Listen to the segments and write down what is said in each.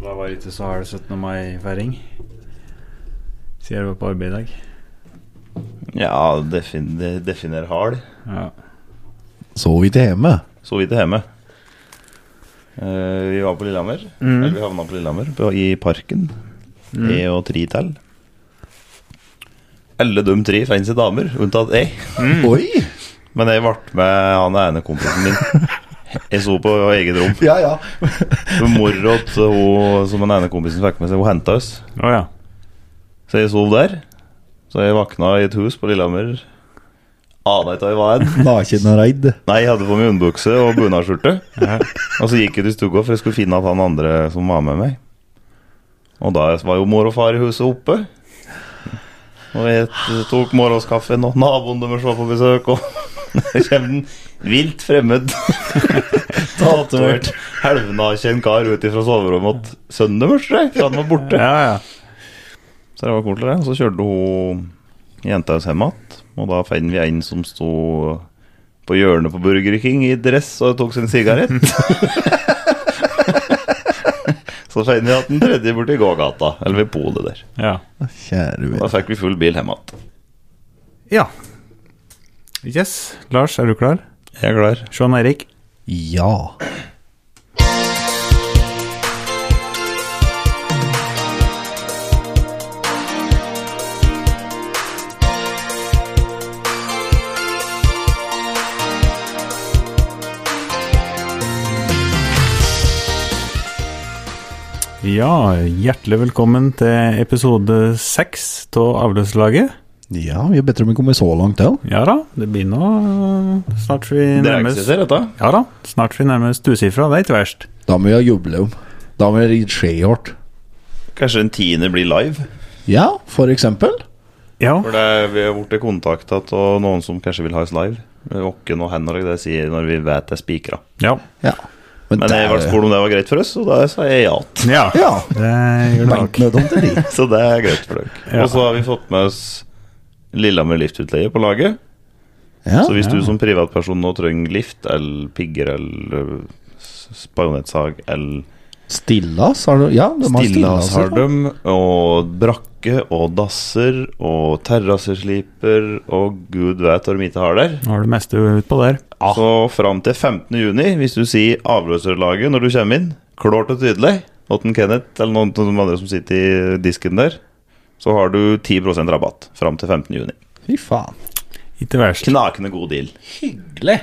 jeg var ute, så har det 17. mai-feiring. Sier du var på arbeid i dag. Ja, defin, de- definer hard. Ja. Sov ikke hjemme. Så vidt hjemme. Eh, vi var på Lillehammer. Eller vi havna på Lillehammer, på, i parken. Mm. E og tre til. Alle de tre fant seg damer, unntatt ei. Oi! Men jeg ble med han ene kompisen min. Jeg så på eget rom. Ja, ja. Mora til hun som den ene kompisen fikk med seg, hun henta oss. Å ja. Så jeg sov der. Så jeg vakna i et hus på Lillehammer. Ana ikke hvor jeg var hen. Naken og redd. Nei, jeg hadde på meg underbukse og bunadsskjorte. og så gikk jeg til stua for jeg skulle finne at han andre som var med meg. Og da var jo mor og far i huset oppe. Og jeg t- tok morgenskaffen, og naboen deres var på besøk, og der kommer den vilt fremmed tatovert halvnaken kar ut ifra soverommet til sønnen deres, tror jeg, for han var borte. ja, ja. Så det var koselig, det. Og så kjørte hun jenta oss hjem igjen. Og da fant vi en som sto på hjørnet på Burger King i dress og tok sin sigarett. så fant vi at den tredje borte i gågata, eller ved polet der. ja. Kjære Da venn. fikk vi full bil hjem igjen. Ja. Yes. Lars, er du klar? Jeg er klar. Sean Erik. Ja. Ja, hjertelig velkommen til episode seks av Avløslaget. Ja, vi er bedre om vi kommer så langt, ja. Ja da, det blir nå øh, snart vi Det er nærmes eksisterer, dette. Ja da, snart vi nærmes tusifra. Det er ikke verst. Da må vi ha jubileum. Da må vi ridde skihårt. Kanskje en tiende blir live. Ja, for eksempel. Ja. For det, vi har blitt kontakta av noen som kanskje vil ha oss live. Åkken og Henrik, det sier når vi vet det er spikra. Ja. Ja. Men jeg ble spurt om det var greit for oss, og da sa jeg ja. ja. Ja. Det gjør det nok. Beint nødom til de. Så det er greit for dere. Ja. Og så har vi fått med oss Lillehammer Liftutleie på laget. Ja. Så hvis du som privatperson nå trenger lift eller pigger eller s- spajonettsag eller Stillas har du Ja, de har Stillas stillas. har dem, og brakke og dasser og terrassesliper og gud vet hva de ikke har der. Nå har du det meste utpå der. Ah. Så fram til 15. juni, hvis du sier avløserlaget når du kommer inn, klart og tydelig, åtten Kenneth eller noen av de andre som sitter i disken der, så har du 10 rabatt fram til 15. juni. Fy faen. Ikke verst. Knakende god deal. Hyggelig.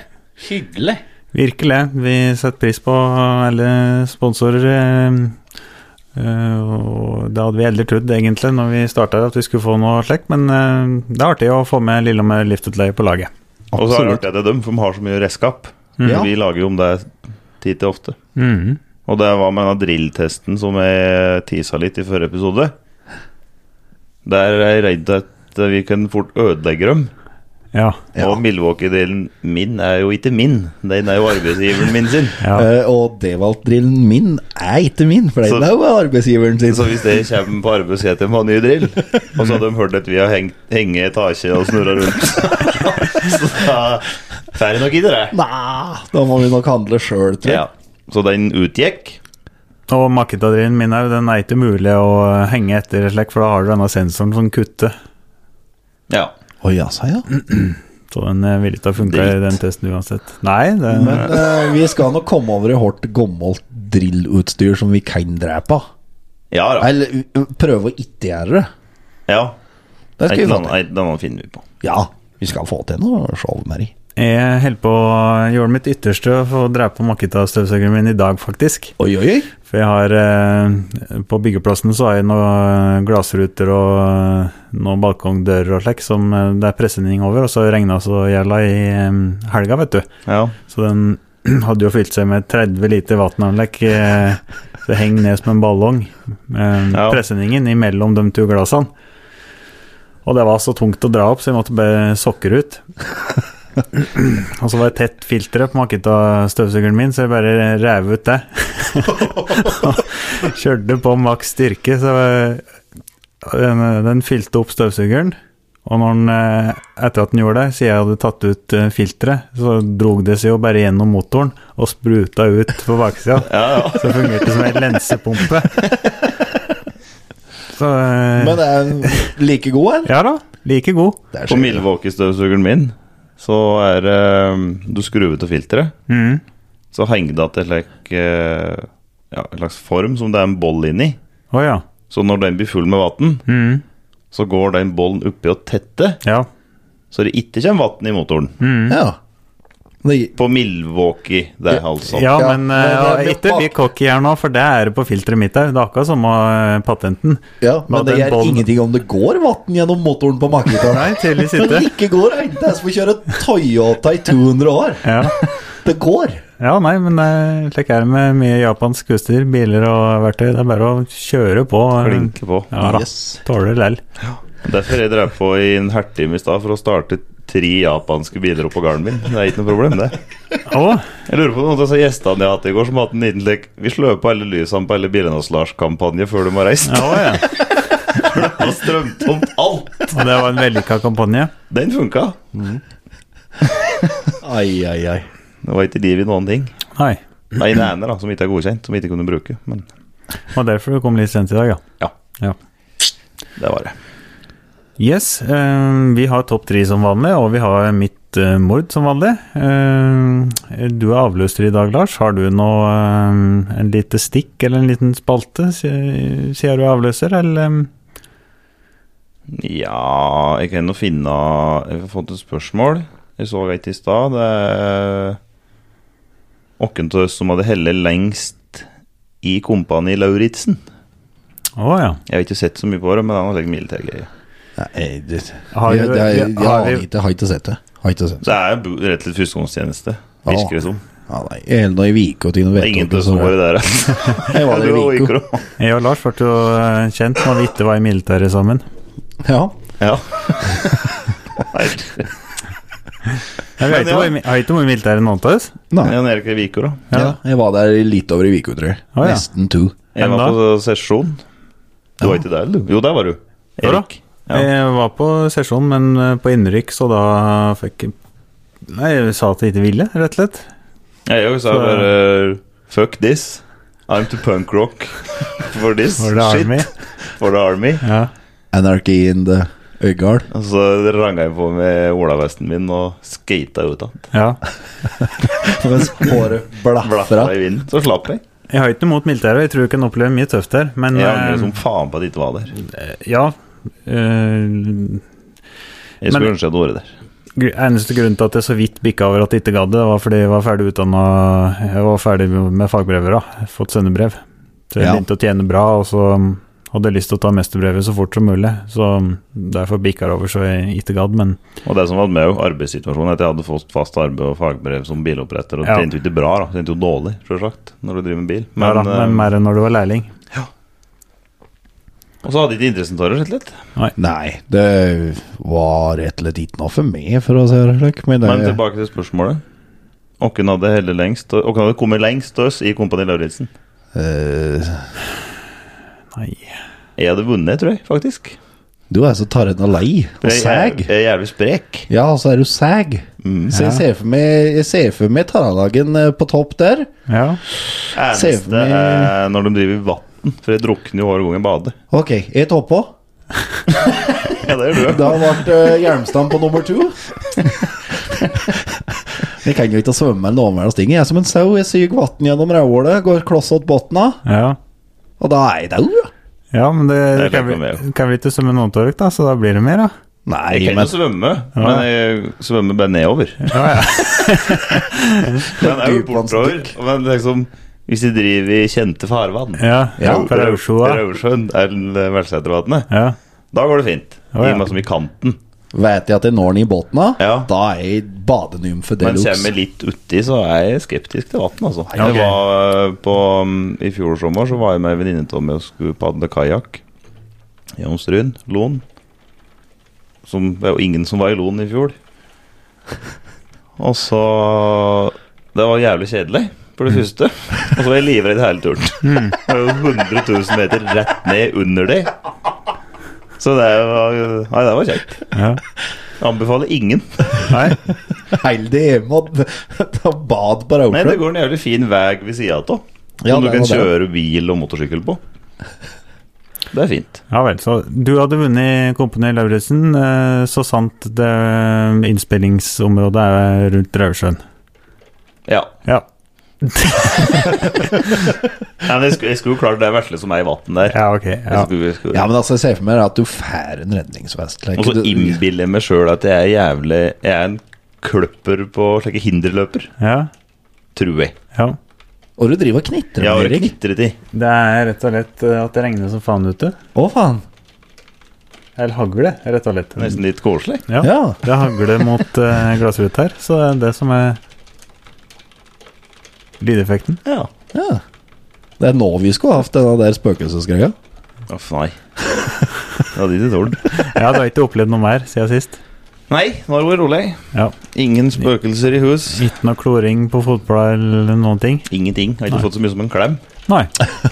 Hyggelig. Virkelig. Vi setter pris på alle sponsorer. eh, eh, Og det hadde vi aldri trodd, egentlig, når vi starta at vi skulle få noe slikt, men eh, det er artig å få med Lillehammer Liftutleie på laget. Og så Absolutt. er det Mm. artig at det er dem, for de har så mye redskap. Ja. Vi lager jo om det tid til ofte. Mhm. Og det var med den drilltesten som jeg tisa litt i forrige episode. Der er jeg redd at vi kan fort ødelegge dem. Ja. Ja. Og Milwaukee-delen min er jo ikke min, den er jo arbeidsgiveren min sin. ja. Eh, og Devalt-drillen min er ikke min, for Så- den er jo arbeidsgiveren sin. Så hvis jeg kommer på arbeid og sier at jeg må ha ny drill, og så har de hørt at vi har hengt, henge etasje og snurra rundt Så da får jeg nok ikke det. Nei, da må vi nok handle sjøl, tror jeg. Ja. Så den utgikk. Og makketadrien min òg, den er ikke mulig å henge etter, slik, for da har du denne sensoren som kutter. Ja. Å ja, sa jeg. Så den eh, ville ikke ha funka i Dritt. den testen uansett. Nei, det Men eh, vi skal nok komme over i hårdt, gammelt drillutstyr som vi kan drepe. Ja da. Eller eh, prøve å ikke gjøre det. Ja. Det skal vi få til. Den finner vi på. Ja, vi skal få til noe skjold med det. jeg holdt på å gjøre mitt ytterste for å drepe makketastøvsugeren min i dag, faktisk. Oi, oi, oi. For jeg har eh, På byggeplassen så har jeg noen glassruter og eh, noen balkongdører og slik som eh, det er pressening over, og så regna så jævla i eh, helga, vet du. Ja. Så den hadde jo fylt seg med 30 liter vannanlegg. eh, så det henger ned som en ballong. Eh, Ja. Presseningen imellom de to glassene. Og det var så tungt å dra opp, så jeg måtte bare sokker ut. og så var det tett filtre på Makita-støvsugeren min, så jeg bare rev ut det. Kjørte på maks styrke, så eh, den, den fylte opp støvsugeren. Og når han, eh, etter at han gjorde det, siden jeg hadde tatt ut eh, filteret, så drog det seg jo bare gjennom motoren og spruta ut på baksida. Ja, Så det fungerte som ei lensepumpe. Så eh, Men det er like god, eller? Ja da, like god. Det er På sjukt. Milwaukee-støvsugeren min så er det eh, Du skrur ut av filteret, Mm. så henger det igjen like, eh, ja, en slags form som det er en boll inni. Å ja. Så når den blir full med vann, Mm. så går den bollen oppi og tetter, Ja. så det ikke kommer vann i motoren. Mm. Ja. Det- På Milwaukee, det er altså. Ja, Ja, men men det- eh, det- ikke bli cocky her nå, for det er det på filteret mitt òg. Det er akkurat samme eh, patenten. ja, men det Var det en gjør bånd? ingenting om det går vann gjennom motoren på Mac-gitaren. Nei, tydeligvis Men ikke. det ikke går, det er ikke jeg som får kjøre Toyota i 200 år. Ja. Det går. ja, nei, men eh, slik er det med mye japansk utstyr, biler og verktøy. Det er bare å kjøre på. eh, Klinker på. Ja da. Yes. Tåler lell. Derfor jeg drev på i en halvtime i stad for å starte tre japanske biler opp på gården min. Det er ikke noe problem, det. Å, Jeg lurer på noen av disse gjestene jeg har hatt i går, som har hatt en liten lek Vi slår på alle lysene på alle bilene hos Lars-kampanje før de har reist. ja, å, ja. Det var strømtomt alt. Og det var en vellykka kampanje. Den funka. Ai, ai, ai. Det var ikke liv i noen ting. Nei. Nei, en ene da, som ikke er godkjent, som ikke kunne bruke. Men Og derfor du kom litt sent i dag, ja. ja, ja. det var det. Yes, eh, vi har topp tre som vanlig, og vi har mitt eh, mord som vanlig. Eh, du er avløser i dag, Lars. Har du noe eh, en lite stikk eller en liten spalte, si- sier du er avløser, eller eh, Ja, jeg kan jo finne Jeg har fått et spørsmål. Jeg så et i stad. Det er hvem av oss som hadde hellet lengst i Kompani Lauritzen. Å ja. Jeg har ikke sett så mye på det, men han har lagt militærgreier. Nei, det, Har jeg, du- jeg, jeg, ja, har aner vi- ikke, har ikke sett det. Har ikke sett det. Så det er jo rett og slett førstegangstjeneste, virker det som. Ja, nei, Hele nå i Vike og Tine Det er ingen til å Vettorp. svare der. Jeg var der i Det Viko. var ikke noe. Jeg og Lars ble jo eh, kjent når vi ikke var i militæret sammen. Ja. Ja. Nei. Jeg Men vet ikke ja. hvor i- har ikke vært i militæret noen av oss. Nei. Jan Erik er i Viko, da. Ja. Ja, jeg var der litt over i Viko, tror jeg. Å, ja. Nesten to. Jeg Hvem var da? på sesjon. Du var ikke der, du? Jo, der var du. Ja da. Erik. Ja. Jeg var på sesjon, men eh, på innrykk, så da fikk jeg Nei, jeg sa at jeg ikke ville, rett og slett. Jeg også sa Så- bare eh, Fuck this. I'm to punk rock for this For the shit. army. For the army. Ja. Anarchy in the Øygard. Og så ranga jeg på med olavesten min og skata ut igjen. ja. Mens håret Blafra blafra. i vinden. Så slapp jeg. Jeg har ikke noe mot militæret, og jeg tror jeg kan oppleve mye tøft der, men Jeg eh, angrer som faen på at jeg ikke var der. Ja. eh, Jeg skulle Men- ønske jeg hadde vært der. gr- eneste grunnen til at jeg så vidt bikka over at jeg ikke gadd det, var fordi jeg var ferdig utdanna Jeg var ferdig med fagbrevet, da. Fått sendebrev. Så jeg Ja. begynte å tjene bra, og så hadde jeg lyst til å ta mesterbrevet så fort som mulig. Så derfor bikka det over så jeg ikke gadd, men Og det som var med jo arbeidssituasjonen, at jeg hadde fått fast arbeid og fagbrev som biloppretter, og det Ja. tjente jo ikke bra, da. Tjente jo dårlig, selvsagt, når du driver med bil. ja, da, eh, men mer enn når du var lærling. Og så hadde jeg ikke interessen for det, rett og slett. Nei, det var rett og slett ikke noe for meg, for å si det slik. Men eh, det Men tilbake til spørsmålet. Hvem hadde heller lengst og Hvem hadde kommet lengst til oss i Kompani Lauritzen? Eh, Nei. Jeg hadde vunnet, tror jeg, faktisk. Du er så tarren og lei og For jeg er- sæg. Jeg er jævlig sprek. Ja, og så er du sæg. Mm. Så Ja. jeg ser for meg, jeg ser for meg Taralagen eh, på topp der. Ja. Eneste Se for meg- er eh, når de driver i vann, for jeg drukner jo hver gang jeg bader. Ok, jeg tar på. Ja, det gjør du. Da ble eh, Hjelmstrand på nummer to. Jeg kan jo ikke svømme eller noe med det. Jeg er som en sau. Jeg syr vann gjennom rævhålet, går kloss åt bunnen, Ja. og da er jeg dau. Ja, men det, Det er kan, litt vi, mer. kan vi ikke svømme noen av dere, da, så da blir det mer, da. Nei, Jeg kan jo men svømme, Ja. men jeg svømmer bare nedover. Ja, ja. Men jeg er jo bortover. Dypvannsdykk. Men liksom, hvis de driver i kjente farvann ja. ja. Ja. Fra Oslo, da. Raudsjøen eller Velsetervatnet, Ja. da går det fint. Å, ja. Gi meg som i kanten. vet jeg at jeg når den i bunnen, Ja. da er jeg badenymfe Men deluxe. kommer jeg litt uti, så er jeg skeptisk til vann, altså. Ja, ok. Jeg var eh, på, mm, I fjor sommer så var jeg med en venninne av meg og skulle padle kajakk gjennom Stryn, Loen. Som, det var jo ingen som var i Loen i fjor. Og så Det var jævlig kjedelig, for det Mm. første. Og så var jeg livredd hele turen. Det var jo 100 000 meter rett ned under det. Så det var, eh, nei, det var kjekt. Ja. Anbefaler ingen. Nei. Heldig hjemme og ta bad på Nei, det Raukjøp. går en jævlig fin vei ved sida av. Som Ja, du det kan var det. kjøre bil og motorsykkel på. Det er fint. Ja vel, så du hadde vunnet Kompani Lauritzen, eh, så sant det eh, innspillingsområdet er rundt Raudsjøen. Ja. Ja. Nei, men jeg skulle, jeg skulle jo klart det vesle som er i vann der. ja, ok. Jeg Ja. skulle, jeg skulle. Ja, men altså, jeg ser for meg at du får en redningsvest. Like, Og så du- innbiller jeg meg sjøl at jeg er jævlig Jeg er en kløpper på slike hinderløper. Ja, Tror jeg. ja. og du driver og knitrer Jeg har med Erik. knitret i. Det er rett og slett eh, at det regner som faen ute. Å, faen. Eller hagle, rett og slett. Nesten litt koselig. Ja. Ja. Det hagler mot uh, glassruta her, så det er det som er lydeffekten. Ja. ja. Det er nå vi skulle hatt denne der spøkelsesgreia. Uff, nei. Ja, de til torden. Ja, du har ikke opplevd noe mer siden sist. Nei, nå har det vært rolig. Ja. Ingen spøkelser i hus. Ikke noe kloring på fotball eller noen ting. Ingenting. Har ikke Nei. fått så mye som en klem. Nei.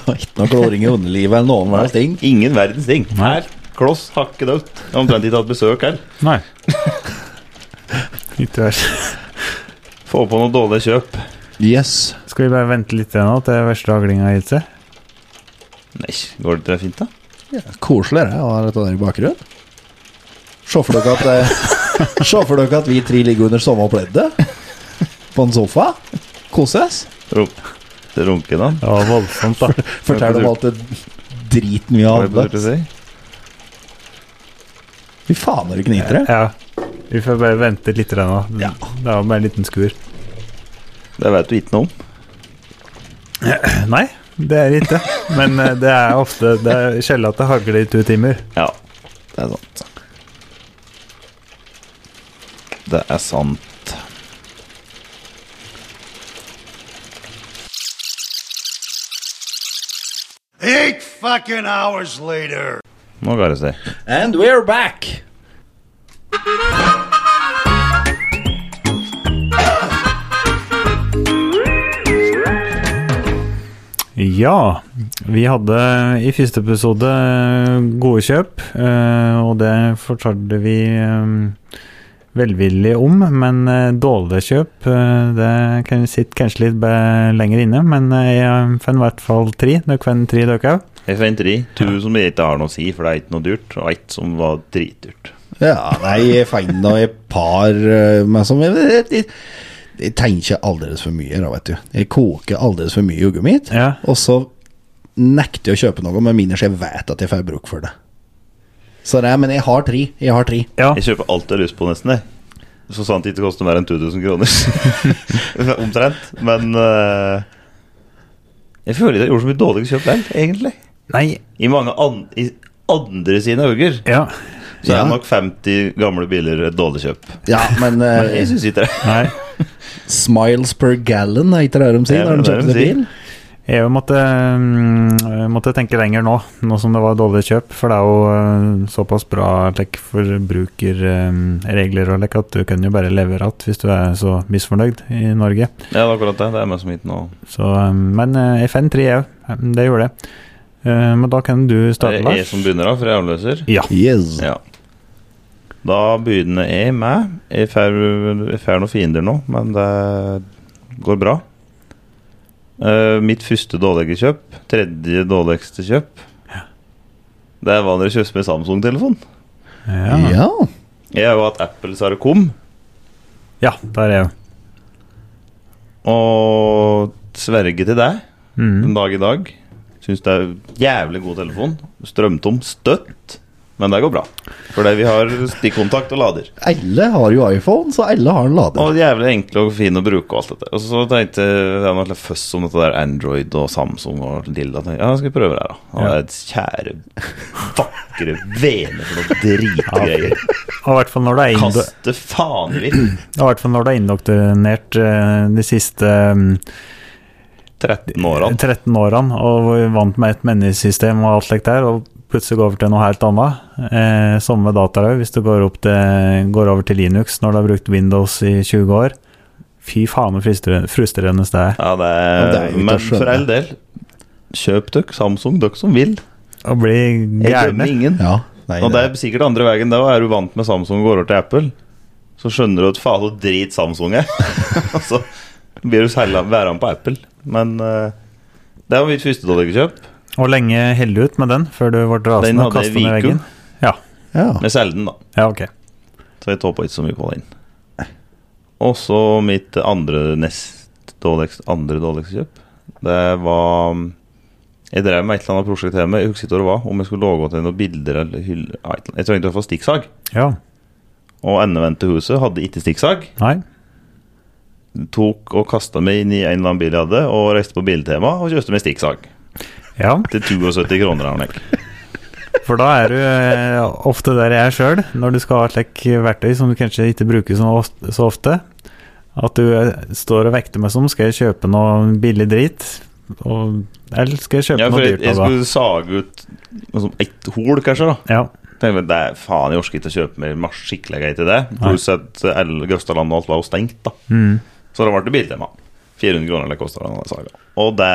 Ikke noe kloring i underlivet eller noen verdens ting. Ingen verdens ting. Nei. Her, kloss hakkedødt. Jeg har Omtrent ikke hatt besøk her. Nei. Ikke verst. Få på noen dårlige kjøp. Yes. Skal vi bare vente litt igjen nå til verste haglinga har gitt seg? Nei, går det fint, da? Ja, koselig det å ha dette der i bakgrunnen. Se for dere at, eh, se for dere at vi tre ligger under samme pleddet på en sofa. Koses. Rom- Det runker da. Det var voldsomt, da. Fortell om alt det driten vi Hva har er det du handlet. skulle si? Fy faen, dere knitre. Ja. Vi får bare vente litt igjen nå. Ja. Det var bare en liten skur. Det vet du ikke noe om. Nei, det er det ikke. Men eh, det er ofte Det er sjelden at det hagler i to timer. Ja, Det er sant. det er sant. Eight fucking hours later. Nå går det seg. And we're back. Ja, vi hadde i første episode gode kjøp, eh, og det fortalte vi eh, velvillig om, men eh, dårlige kjøp, eh, det kan vi sitte kanskje litt be- lenger inne, men eh, jeg fant i hvert fall tre, dere fant tre dere også. Jeg fant tre. To som jeg ikke har noe å si, for det er ikke noe dyrt. Og ett som var dritdyrt. Ja, nei, jeg fant nå et par eh, men som jeg, jeg, jeg, jeg tenker aldri for mye, da, vet du. Jeg koker aldri for mye jogget mitt. Ja. Og så nekter jeg å kjøpe noe, med mindre jeg vet at jeg får bruk for det. Så det er, Men jeg har tre. Jeg har tre. Ja, Jeg kjøper alt jeg har lyst på, nesten. Jeg. Så sant det ikke koster mer enn 2000 kroner. Omtrent. Men eh, jeg føler ikke jeg gjorde så mye dårligere kjøp der, egentlig. nei, I mange an i andre sine øyne ja, så Ja. er nok 50 gamle biler et dårlig kjøp. Ja, men Men jeg eh, syns ikke det. nei. smiles per gallon er ikke det de Det sier når er de det de kjøper seg sier. bil? Jeg E måtte, mm, måtte tenke lenger nå, nå som det var dårlige kjøp, for det er jo eh, såpass bra like, forbrukerregler eh, og like, at du kan jo bare leve ratt hvis du er så misfornøyd i Norge. Ja, det er akkurat det. Det er meg som ikke noe Så, eh, men eh, jeg fant tre, jeg òg. Det gjorde jeg. Eh, Men da kan du Det starte, er jeg Lars. som begynner, da, for jeg er avløser. Ja. Yes. Ja. Da begynner jeg med Jeg får jeg får noen fiender nå, men det går bra. Eh, mitt første dårlige kjøp, tredje dårligste kjøp, det var når jeg kjøpte meg Samsung-telefon. Ja, ja. Ja. Jeg har jo hatt Apple så det kom, der er E jeg òg. og sverger til deg Mm. den dag i dag. Syns det er jævlig god telefon. Strømtom støtt, men det går bra. Fordi vi har stikkontakt og lader. Alle har jo iPhone, så alle har en lader. Og jævlig enkle og fine å bruke og alt dette. Og så tenkte jeg det var noe føss om dette der Android og Samsung og Dilda. Tenkte, jeg, ja, skal vi prøve det her, da. Og Ja. det er et kjære, vakre vene for noen dritgreier. Og i hvert fall når det er indo- Kaste faen i vinden. og i hvert fall når det er indoktrinert eh, de siste eh, 13 årene. 13 årene og var vant med et menneskesystem og alt slikt der, og plutselig går over til noe helt annet. Eh, samme med dataer òg, hvis du går, opp til, går over til Linux når du har brukt Windows i 20 år. Fy faen, så frustrerende, frustrerende det er. Ja, det Ja, det er, er jo ikke men å skjønne. for all del, kjøp dere Samsung, dere som vil. Å bli Jeg dømmer gærne. ingen. Ja. Nei, Og det er sikkert andre veien da, er du vant med Samsung og går over til Apple, så skjønner du at faen, så drit Samsung er. Og så blir du særlig værende på Apple. Men eh, det var mitt første dollarkjøp. Og lenge held ut med den før du ble Den rasende og hadde kastet den i Vikum. veggen? Ja. ja. Med selden, da. ja, ok. Så jeg tåpa ikke så mye på den. Og så mitt andre nest dårligste, andre dårligste kjøp. Det var Jeg drev med et eller annet prosjekt hjemme. Jeg husker ikke hva det var. Om jeg skulle lage til noen bilder eller hylle ja, et eller annet. Jeg trengte i hvert fall stikksag. Ja. Og endevendt til huset hadde ikke stikksag. Nei. Tok og kasta meg inn i en eller annen bil jeg hadde, og reiste på Biltema og kjøpte meg stikksag. Ja, Til 72 kroner. Arnek. for da er du eh, ofte der jeg er sjøl, når du skal ha et slikt verktøy som du kanskje ikke bruker så of- så ofte. At du eh, står og vekter meg som skal jeg kjøpe noe billig drit, og, eller skal jeg kjøpe Ja, for noe jeg, dyrt? jeg da? skulle sage ut liksom, ett hol, kanskje. da Ja, Tenkte jeg, det er faen, jeg orker ikke å kjøpe mer masse skikkelig gøy til det. Pluss at el- Grøstaland og alt var jo stengt, da. mm. Så da ble det biltema. 400 kroner det kosta den saga. Og det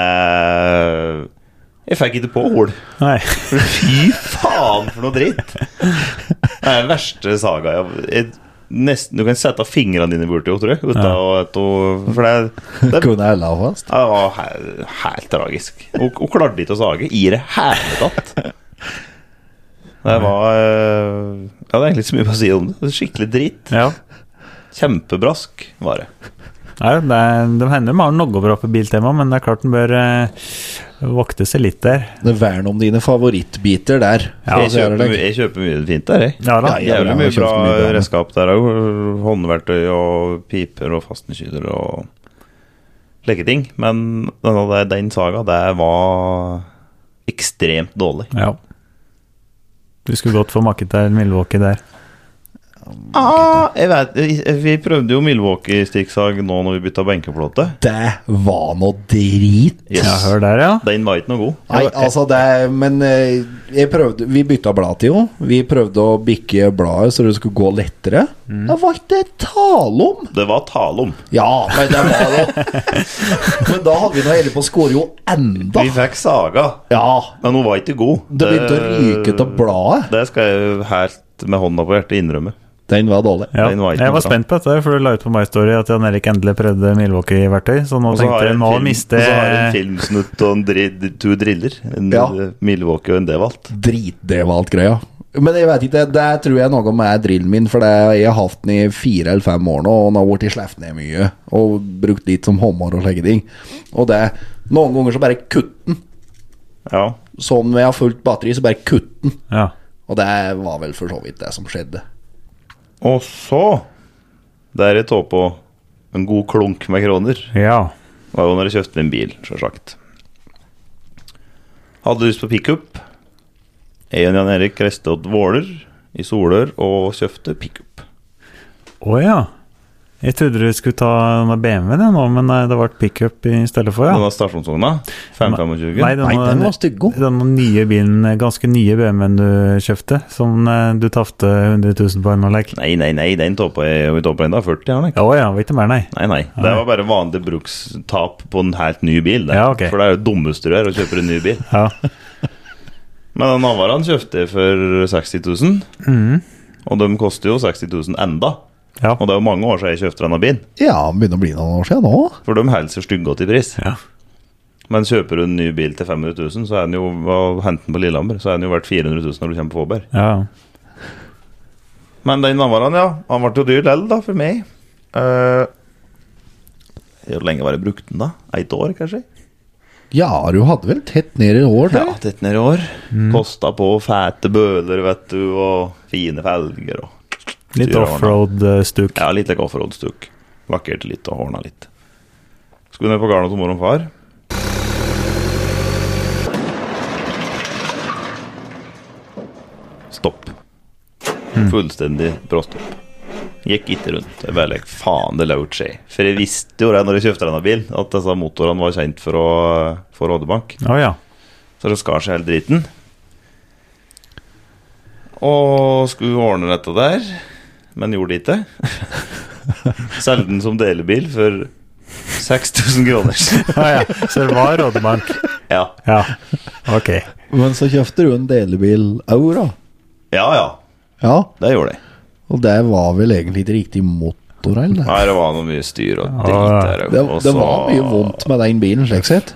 Jeg fikk ikke på hol. Nei. Fy faen, for noe dritt! Det er den verste saga jeg, jeg Nesten, Du kan sette fingrene dine borti henne, tror jeg. Uten Ja. å- at hun- For det, det, Kunne jeg la fast? det var he- helt tragisk. Hun hun klarte ikke å sage i det hele tatt. Det var eh, Ja, det er egentlig ikke så mye å si om det. det. er Skikkelig dritt. Ja. Kjempebrask var det. Nei, det, er- det hender de har noe bra på biltema, men det er klart en bør eh, vokte seg litt der. Det Vern om dine favorittbiter der. Ja, for å jeg, si altså, det kjøper, slik. mye- jeg kjøper mye fint der, jeg. Ja Ja, da. ja. Jævlig jeg mye har bra kjøpt mye bra. redskap der òg. Håndverktøy og piper og fastenskyter og leketing. Men denne, der- den saga, det var ekstremt dårlig. Ja. Du skulle godt få makket deg en Milwaukee der. Ah, jeg vet, jeg- vi prøvde jo Milwaukee-stikksag nå når vi bytta benkeplate. Det var noe drit. Yes. Ja, hør der, ja. Den var ikke noe god. Nei, altså det er, Men eh, jeg prøvde Vi bytta blad til jo. Vi prøvde å bikke bladet så det skulle gå lettere. Det var ikke tale om! Det var tale om. Ja, men det var det. men da hadde vi nå hele på å score jo enda. Vi fikk saga, Ja. men hun var ikke god. Det begynte å ryke ut av bladet. Det skal jeg jo helt med hånda på hjertet innrømme. Den var dårlig. ja. Den var ikke Jeg var bra. spent på dette, for du la ut på My Story at Jan Erik endelig prøvde Milwaukee-verktøy, så nå Og så har tenkte jeg jeg en nå film- mister og så har jeg en jeg filmsnutt og en dri, to driller. En Ja. eh, Milwaukee og en Devalt. Dritdevalt-greia. Men jeg vet ikke, det tror jeg noe med drillen min, for det, jeg har hatt den i fire eller fem år nå, og den har blitt slept ned mye, og brukt litt som håndmål og slike ting. Og det Noen ganger så bare kutter den. Ja. Sånn når jeg har fullt batteri, så bare kutter den. ja. Og det var vel for så vidt det som skjedde. Og så Der jeg tå på en god klunk med kroner, ja. var jo når jeg kjøpte min bil, sjølsagt. Hadde lyst på pickup. Jeg og Jan Erik reiste til Våler i Solør og kjøpte pickup. Å ja. Jeg trodde du skulle ta denne BMW-en jeg, nå, men nei, det ble pickup i stedet for, ja. Denne stasjonsvogna. 525. Nei, Nei, den var stygg òg. denne nye bilen, eh, ganske nye BMW-en du kjøpte, som eh, du tapte 100 000 på en lek. Nei, nei, nei, den toppa jeg vi toppa den da, 40 har den ikke. Å ja, var ikke mer, nei. Nei, nei, det var bare vanlig brukstap på en helt ny bil. Det. Ja, ok. For det er jo det dummeste du gjør, å kjøpe en ny bil. Ja. Men den Navaraen kjøpte jeg for 60 000, og de koster jo 60 000 enda. Ja. Og det er jo mange år siden jeg kjøpte denne bilen, Ja, den begynner å bli noen år siden nå. for de holder seg styggete i pris. Ja. Men kjøper du en ny bil til 500 000, så er den jo, og henter den på Lillehammer, så er den jo verdt 400 000 når du kommer på Fåberg. ja. Men den Navaraen, ja. Han ble jo dyr lell, da, for meg. Eh, hvor lenge var det brukt den, da? Et år, kanskje? Ja, du hadde vel tett ned i år, Ja, det. tett ned i år. Kosta på fete bøler, vet du, og fine felger og Litt eh, Dyre offroad-stuk. Ja, litt like offroad-stuk. Lakkerte litt og ordna litt. Skulle ned på garnet til mor og far. Stopp. Fullstendig bråstopp. Gikk ikke rundt. Jeg bare like, faen, det lot skje. For jeg visste jo det når jeg kjøpte denne bilen, at disse motorene var kjent for, å, for Oddebank. Å ja. Så det skar seg hele driten. Og skulle ordne dette der, men gjorde det ikke. Selgte den som delebil for 6000 kroner. Å ja. Så det var rådebank. Ja. Ja, ok. Men så kjøpte du en delebil òg, da. Ja, ja. Ja, Det gjorde de. og det var vel egentlig ikke riktig motorhell, det. Nei, det var noe mye styr og Ja. dritt der. Det, og det så- var mye vondt med den bilen, slik sett.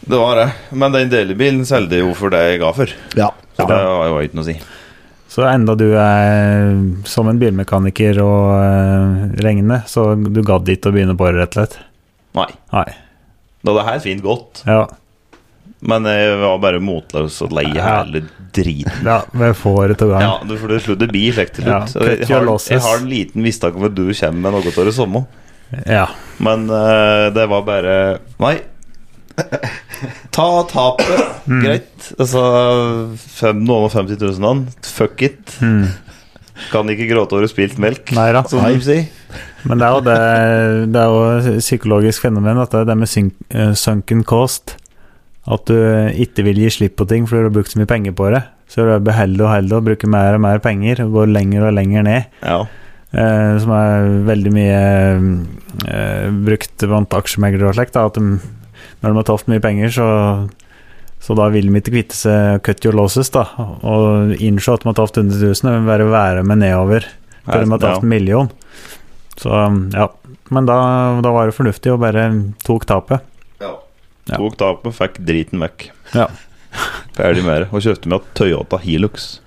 Det var det. Men den delebilen solgte jeg jo for det jeg ga for. Ja. Så det var jo ikke noe å si. Så enda du er som en bilmekaniker og eh, regne, så du gadd ikke å begynne på det, rett og slett? Nei. Nei. Da det her fint godt, Ja. men jeg var bare motløs og lei av Ja. hele driten. ja vi får det til gang. Ja, du får det slutt, det blir slik til Ja, slutt. Jeg, cut your har, losses. jeg har en liten mistanke om at du kommer med noe av det samme, Ja. men eh, det var bare Nei. Ta tapet, Mm. greit. Altså fem, noen og 50 000 an. Fuck it. Mm. Kan ikke gråte over spilt melk, Nei da. som de sier. Men det er jo det Det er jo et psykologisk fenomen, at det er det med syn- eh, sunken cost. At du ikke vil gi slipp på ting fordi du har brukt så mye penger på det. Så du beholder og holder og bruker mer og mer penger og går lenger og lenger ned. Ja. Eh, som er veldig mye eh, brukt blant aksjemeglere og slikt. da, At de, når de har tapt mye penger, så, så da vil de ikke kvitte seg cut your losses, da. Og innse at de har tapt 100 000, men bare være med nedover. Før de har Ja. tatt en million. Så um, ja. Men da, da var det fornuftig og bare tok tapet. Ja. Tok tapet, fikk driten vekk. Ja. Ferdig med det. Og kjøpte meg Toyota Hilux.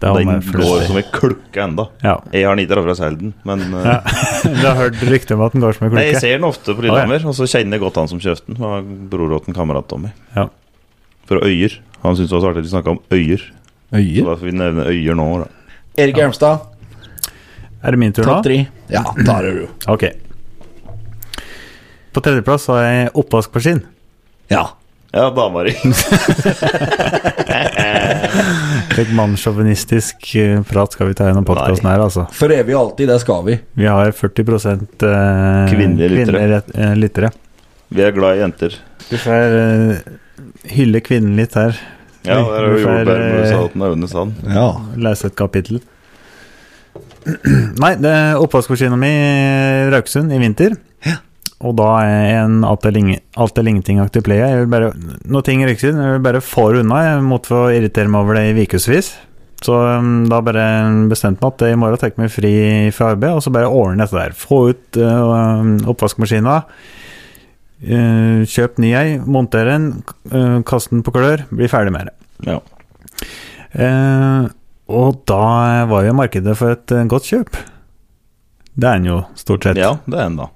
Det var den mer går fornuftig. som en klukke enda Ja. Jeg har den ikke fra Selden, men eh, ja. Du har hørt rykter om at den går som en Nei, jeg klukke? ser den ofte på Lillehammer, og så kjenner jeg godt han som kjøpte den. Det var bror åt en kamerat av meg. Ja. Fra Øyer. Han syntes det var så artig at vi snakka om Øyer. Så Øyer? da får vi nevne Øyer nå. Da. Erik Ermstad, Er det min tur nå? topp tre. Ja, tar det du. Ok. På tredjeplass har jeg oppvaskmaskin. Ja. Ja, dama di. Litt mannssjåvinistisk eh, prat skal vi ta gjennom podkasten her, altså. For evig og alltid, det skal vi. Vi har 40 eh, Kvinnelige lyttere. rett- eh, lyttere. Vi er glad i jenter. Du får eh, hylle kvinnen litt her. Ja, det er jo Vi får, eh, jordbærmusaten og Aune Sand. Ja. lese et kapittel. Nei, det er oppvaskmaskina mi i Rauksund i vinter. Og da er jeg en alt eller ingen- alt eller ingenting-aktig player. Jeg vil bare, når ting rykker inn, jeg vil bare få det unna. Jeg måtte få irritere meg over det i ukevis. Så um, da bare bestemte jeg meg at i morgen tar jeg meg fri fra arbeid, og så bare ordne dette der. Få ut uh, oppvaskmaskina. eh, kjøp ny ei, monter den, eh, kast den på klør, bli ferdig med det. Ja. Eh, og da var jo markedet for et eh, godt kjøp. Det er den jo, stort sett. ja, det er en, da.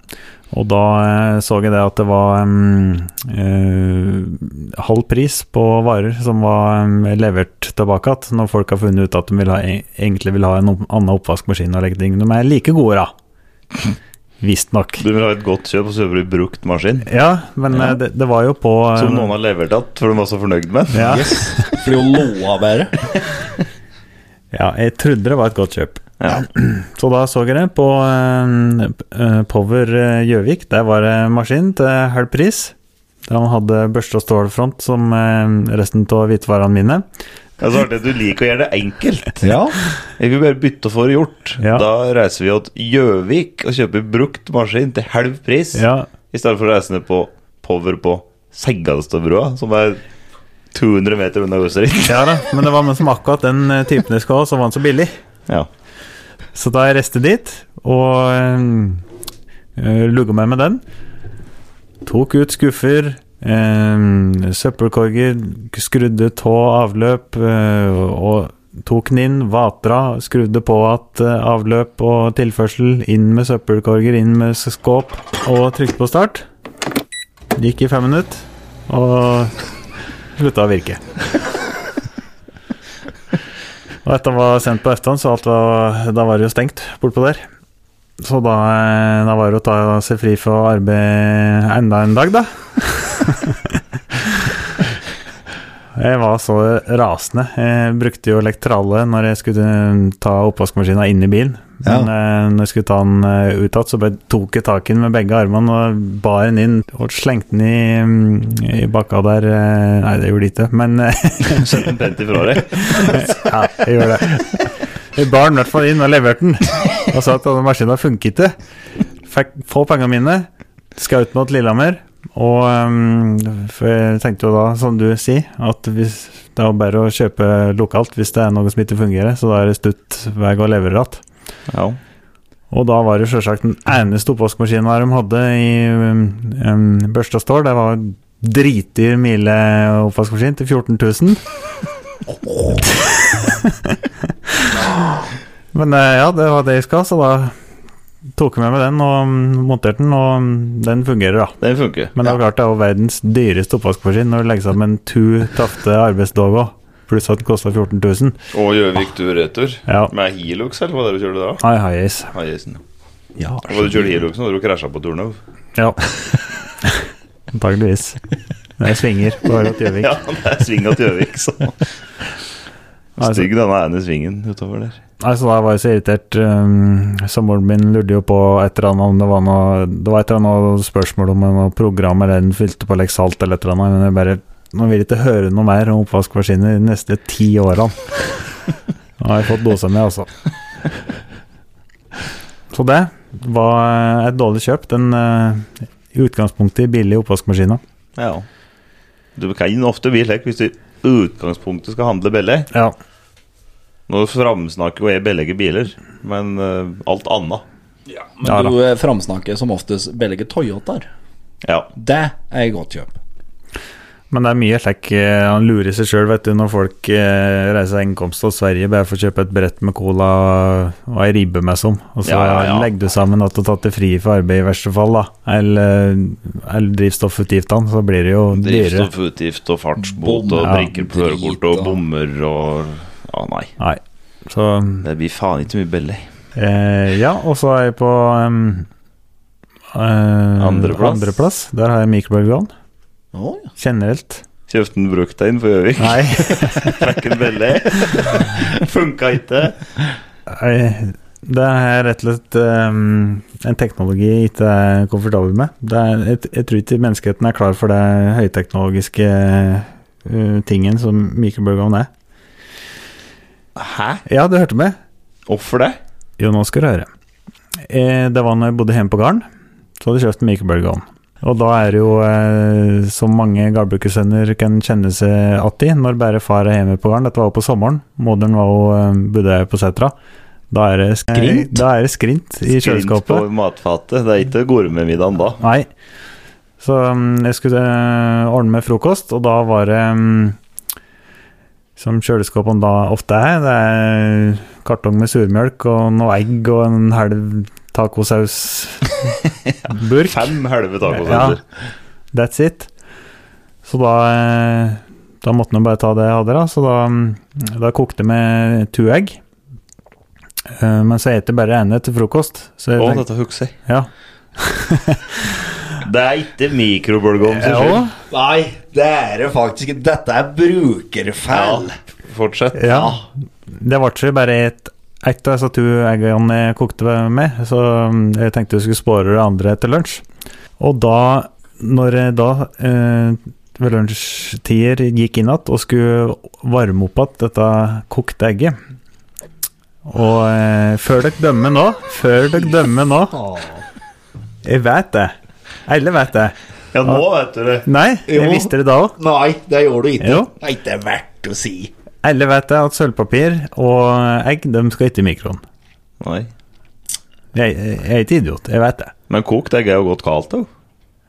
Og da eh, så jeg det at det var mm, eh, halv pris på varer som var mm, levert tilbake igjen, når folk har funnet ut at de vil ha, e, egentlig vil ha en opp- annen oppvaskmaskin og legge ting. De er like gode, da. Visstnok. Du vil ha et godt kjøp, og så kjøper du brukt maskin. Ja, men eh, Det, det var jo på eh, Som noen har levert igjen, for de var så fornøyd med den. ja. For jo loa bare. ja, jeg trodde det var et godt kjøp. Ja. Så da så jeg det på eh, eh, Power eh, Gjøvik. Der var det maskin til halv pris. De hadde børste og stålfront som eh, resten av hvitevarene mine. Det er så artig at du liker å gjøre det enkelt. Ja. Jeg vil bare bytte og få det gjort. Ja. Da reiser vi til Gjøvik og kjøper brukt maskin til halv pris. Ja, I stedet for å reise ned på Power på Seggalstadbrua, som er 200 meter unna huset ditt. ja da, men det var med som akkurat den eh, typen jeg skulle ha, så var den så billig. Ja. Så da jeg reiste dit og uh, lugga meg med den, tok ut skuffer, eh, søppelkorger, skrudde tå avløp eh, og tok den inn, vatra, skrudde på at eh, avløp og tilførsel, inn med søppelkorger, inn med s- skåp og trykte på start. Det Gikk i fem minutter, og slutta å virke. Og dette var sendt på etterhånd, så alt var, da var det jo stengt bortpå der. Så da, eh, da var det å ta seg fri fra arbeid enda en dag, da. jeg var så rasende. Jeg brukte jo elektrale når jeg skulle eh, ta oppvaskmaskina inn i bilen. Men eh, når jeg skulle ta den eh, ut igjen, så bare tok jeg tak i den med begge armene og bar den inn og slengte den i, mm, i bakka der. eh, Nei, det gjorde de ikke, men eh, Sett en pent ifra deg. ja, jeg gjorde det. Jeg bar den i hvert fall inn og leverte den. Og sa at denne maskinen funket ikke. Fikk få pengene mine. Skaut meg til Lillehammer. Og ehm, for jeg tenkte jo da, som du sier, at hvis det er bare å kjøpe lokalt hvis det er noe som ikke fungerer, så da er det stutt vei å levere igjen. Ja. Og da var det sjølsagt den eneste oppvaskmaskinen de hadde i um, Børstad Store. Det var dritdyr mile oppvaskmaskin til 14 000. Men eh, ja, det var det jeg skal, så da tok jeg med meg den og mm, monterte den, og mm, den fungerer, da. Den funker. Men det er klart det er jo verdens dyreste oppvaskmaskin når du legger sammen to tapte arbeidsdager, pluss at den kosta 14 000. Og Gjøvik tur-retur. Ja. Med Hilux, eller hva var det du kjørte da? High highs. Highasen. Ja, Var det du kjørte Hiluxen, og du krasja på turnet? Ja. Antakeligvis. Det svinger på Harald Gjøvik. Ja, det er svinga til Gjøvik, så Stygg denne ene svingen utover der. Nei, så da var jeg så irritert. Um, Samboeren min lurte jo på et eller annet om det var noe Det var et eller annet spørsmål om noe program eller den fylte på Lexalt eller et eller annet, men jeg bare Nå vil jeg ikke høre noe mer om oppvaskmaskiner de neste ti årene. Nå har jeg fått dosa mi, altså. Så det var et dårlig kjøp. Den eh, i utgangspunktet billige oppvaskmaskina. Ja. Du kan ofte bli slik hvis du i utgangspunktet skal handle billig. Ja. Nå framsnakker jo jeg billige biler, men eh, alt annet. Men Ja da. du eh, framsnakker som oftest billige Toyotaer. Ja. Det er et godt kjøp. Men det er mye slik eh, Han lurer seg sjøl, vet du, når folk eh, reiser innkomst til Sverige bare for å kjøpe et brett med cola og ei ribbe med som, og så Ja, ja, ja. legger du sammen at du har tatt deg fri for arbeid i verste fall, da, eller, eller drivstoffutgiftene, så blir det jo dyrere. Drivstoffutgift og fartsbot Bom, og ja. brikker på førerkort Drit, da. og bommer og Ja, nei. Nei. Så Det blir faen ikke mye billig. eh, Ja, og så er jeg på em, eh, Andreplass. andreplass. Der har jeg mikrobølgeovn. Å, ja. Generelt. Kjøpte en brukt en på Gjøvik. Nei. Fikk en billig. Funka ikke. Nei, Det er rett og slett ehm, en teknologi jeg ikke er komfortabel med. Det er, jeg, jeg tror ikke menneskeheten er klar for det høyteknologiske eh, tingen som mikrobølgeovn er. Hæ? Ja, du hørte meg? Hvorfor det? Jo, nå skal du høre. Eh, det var når jeg bodde hjemme på gården, så hadde jeg kjøpt en mikrobølgeovn. Og da er det jo eh, som mange gårdbrukersønner kan kjenne seg igjen i, når bare far er hjemme på gården. Dette var jo på sommeren, moderen var jo eh, bodde på setra. Da er det Skrint? skrint, da er det skrint i Skrint på kjøleskapet. matfatet. Det er ikke gourmetmiddagen da. Nei. Så mm, jeg skulle eh, ordne med frokost, og da var det mm, Som kjøleskapene da ofte er, det er kartong med surmjølk og noe egg og en halv tacosausburk. Fem halve tacosenter. ja, that's it. Så da eh, Da måtte man bare ta det jeg hadde, da. Så da, mm, da kokte jeg med to egg. Eh, Men så spiser jeg bare ene til frokost. Så jeg Å, tenkte, dette husker jeg. ja. Det er ikke mikrobølgeovn sin Ja, skyld. Nei, det er det faktisk ikke. Dette er brukerfeil. Fortsett. Ja. Det ble ikke bare et ett av disse to eggene jeg kokte med, så mm, jeg tenkte jeg skulle spåre det andre etter lunsj. Og da, når jeg da eh, ved lunsjtider gikk inn igjen og skulle varme opp igjen dette kokte egget Og eh, før dere dømmer nå, før dere dømmer nå Jeg vet det. Alle vet det. Ja, nå vet du det. Nei, jeg Jo. visste det da òg. Nei, det gjorde du ikke. Jo. Det er ikke verdt å si. Alle vet det at sølvpapir og egg de skal ikke i mikroen. Nei. Jeg, jeg er ikke idiot, jeg vet det. Men kokt egg er jo godt kaldt, jo.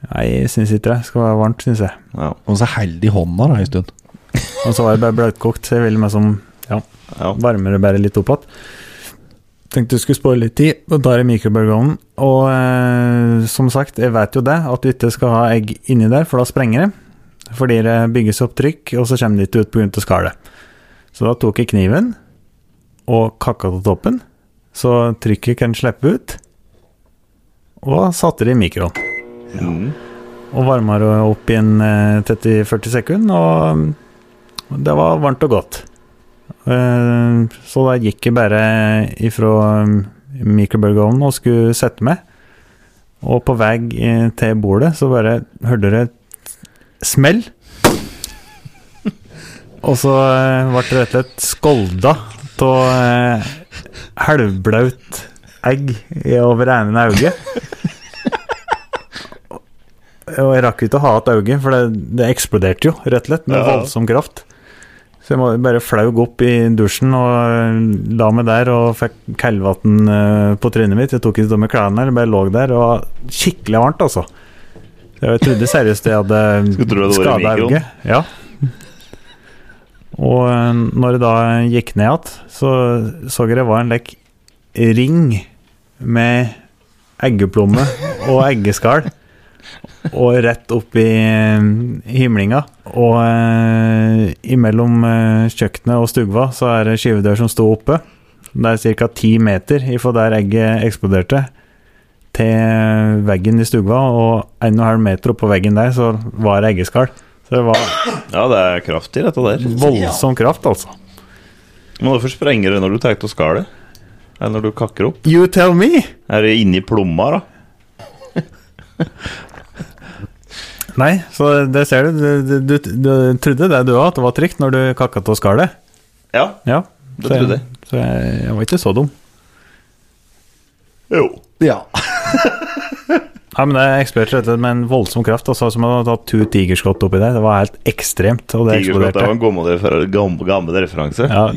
Nei, jeg syns ikke det skal være varmt, syns jeg. Ja. Og så held i hånda da en stund. Og så var det bare bløtkokt, så jeg ville meg som ja, Ja. varmer det bare litt opp igjen. Tenkte du skulle spare litt tid, og da er det mikrobølgeovnen. Og eh, som sagt, jeg vet jo det, at du ikke skal ha egg inni der, for da sprenger det. Fordi det bygges opp trykk, og så kommer det ikke ut pga. skallet. Så da tok jeg kniven og kakka til toppen, så trykket kan slippe ut. Og satte det i mikroen. Mm. og varma det opp i en eh, 30-40 sekunder, og mm, det var varmt og godt. Eh, Så da gikk jeg bare ifra mm, mikrobølgeovnen og skulle sette meg, og på vei eh, til bordet så bare hørte det smell. Og så eh, ble det rett og slett skolda av eh, halvblaut egg i- over ene øyet. Og jeg rakk ikke å ha et øye, for det, det eksploderte jo, rett og slett, med Ja, ja. voldsom kraft. Så jeg må bare flaug opp i dusjen og eh, la meg der og fikk kaldvann eh, på trynet mitt. Jeg tok ikke av meg klærne, jeg bare lå der og var skikkelig varmt, altså. Jeg trodde seriøst jeg Skulle tro det hadde var i skada mikroen. øyet. Ja. Og eh, når jeg da gikk ned igjen, så så jeg det var en lek ring med eggeplomme og eggeskall. Og rett opp i eh, himlinga. Og eh, imellom eh, kjøkkenet og stugva så er det skyvedør som sto oppe. Det er ca. ti meter ifra der egget eksploderte, til veggen i stugva. Og en og en halv meter oppå veggen der så var det eggeskall. Så det var Ja, det er kraft i dette der. voldsom kraft, altså. Men hvorfor sprenger det når du tar ut skallet? Eller når du kakker opp? You tell me! Er det inni plomma, da? Nei, så det ser du. Du, du, du, du trodde det du òg, at det var trygt når du kakka av skallet. Ja. Ja, Det trodde jeg. Så jeg, jeg var ikke så dum. Jo. Ja. Ja, men Det eksploderte rett og slett med en voldsom kraft. Altså, som å ha tatt to tigerskott oppi der. Det var helt ekstremt. Og det Tigerskott er jo eksploderte. en gammel, refer- gammel, gammel referanse. Ja,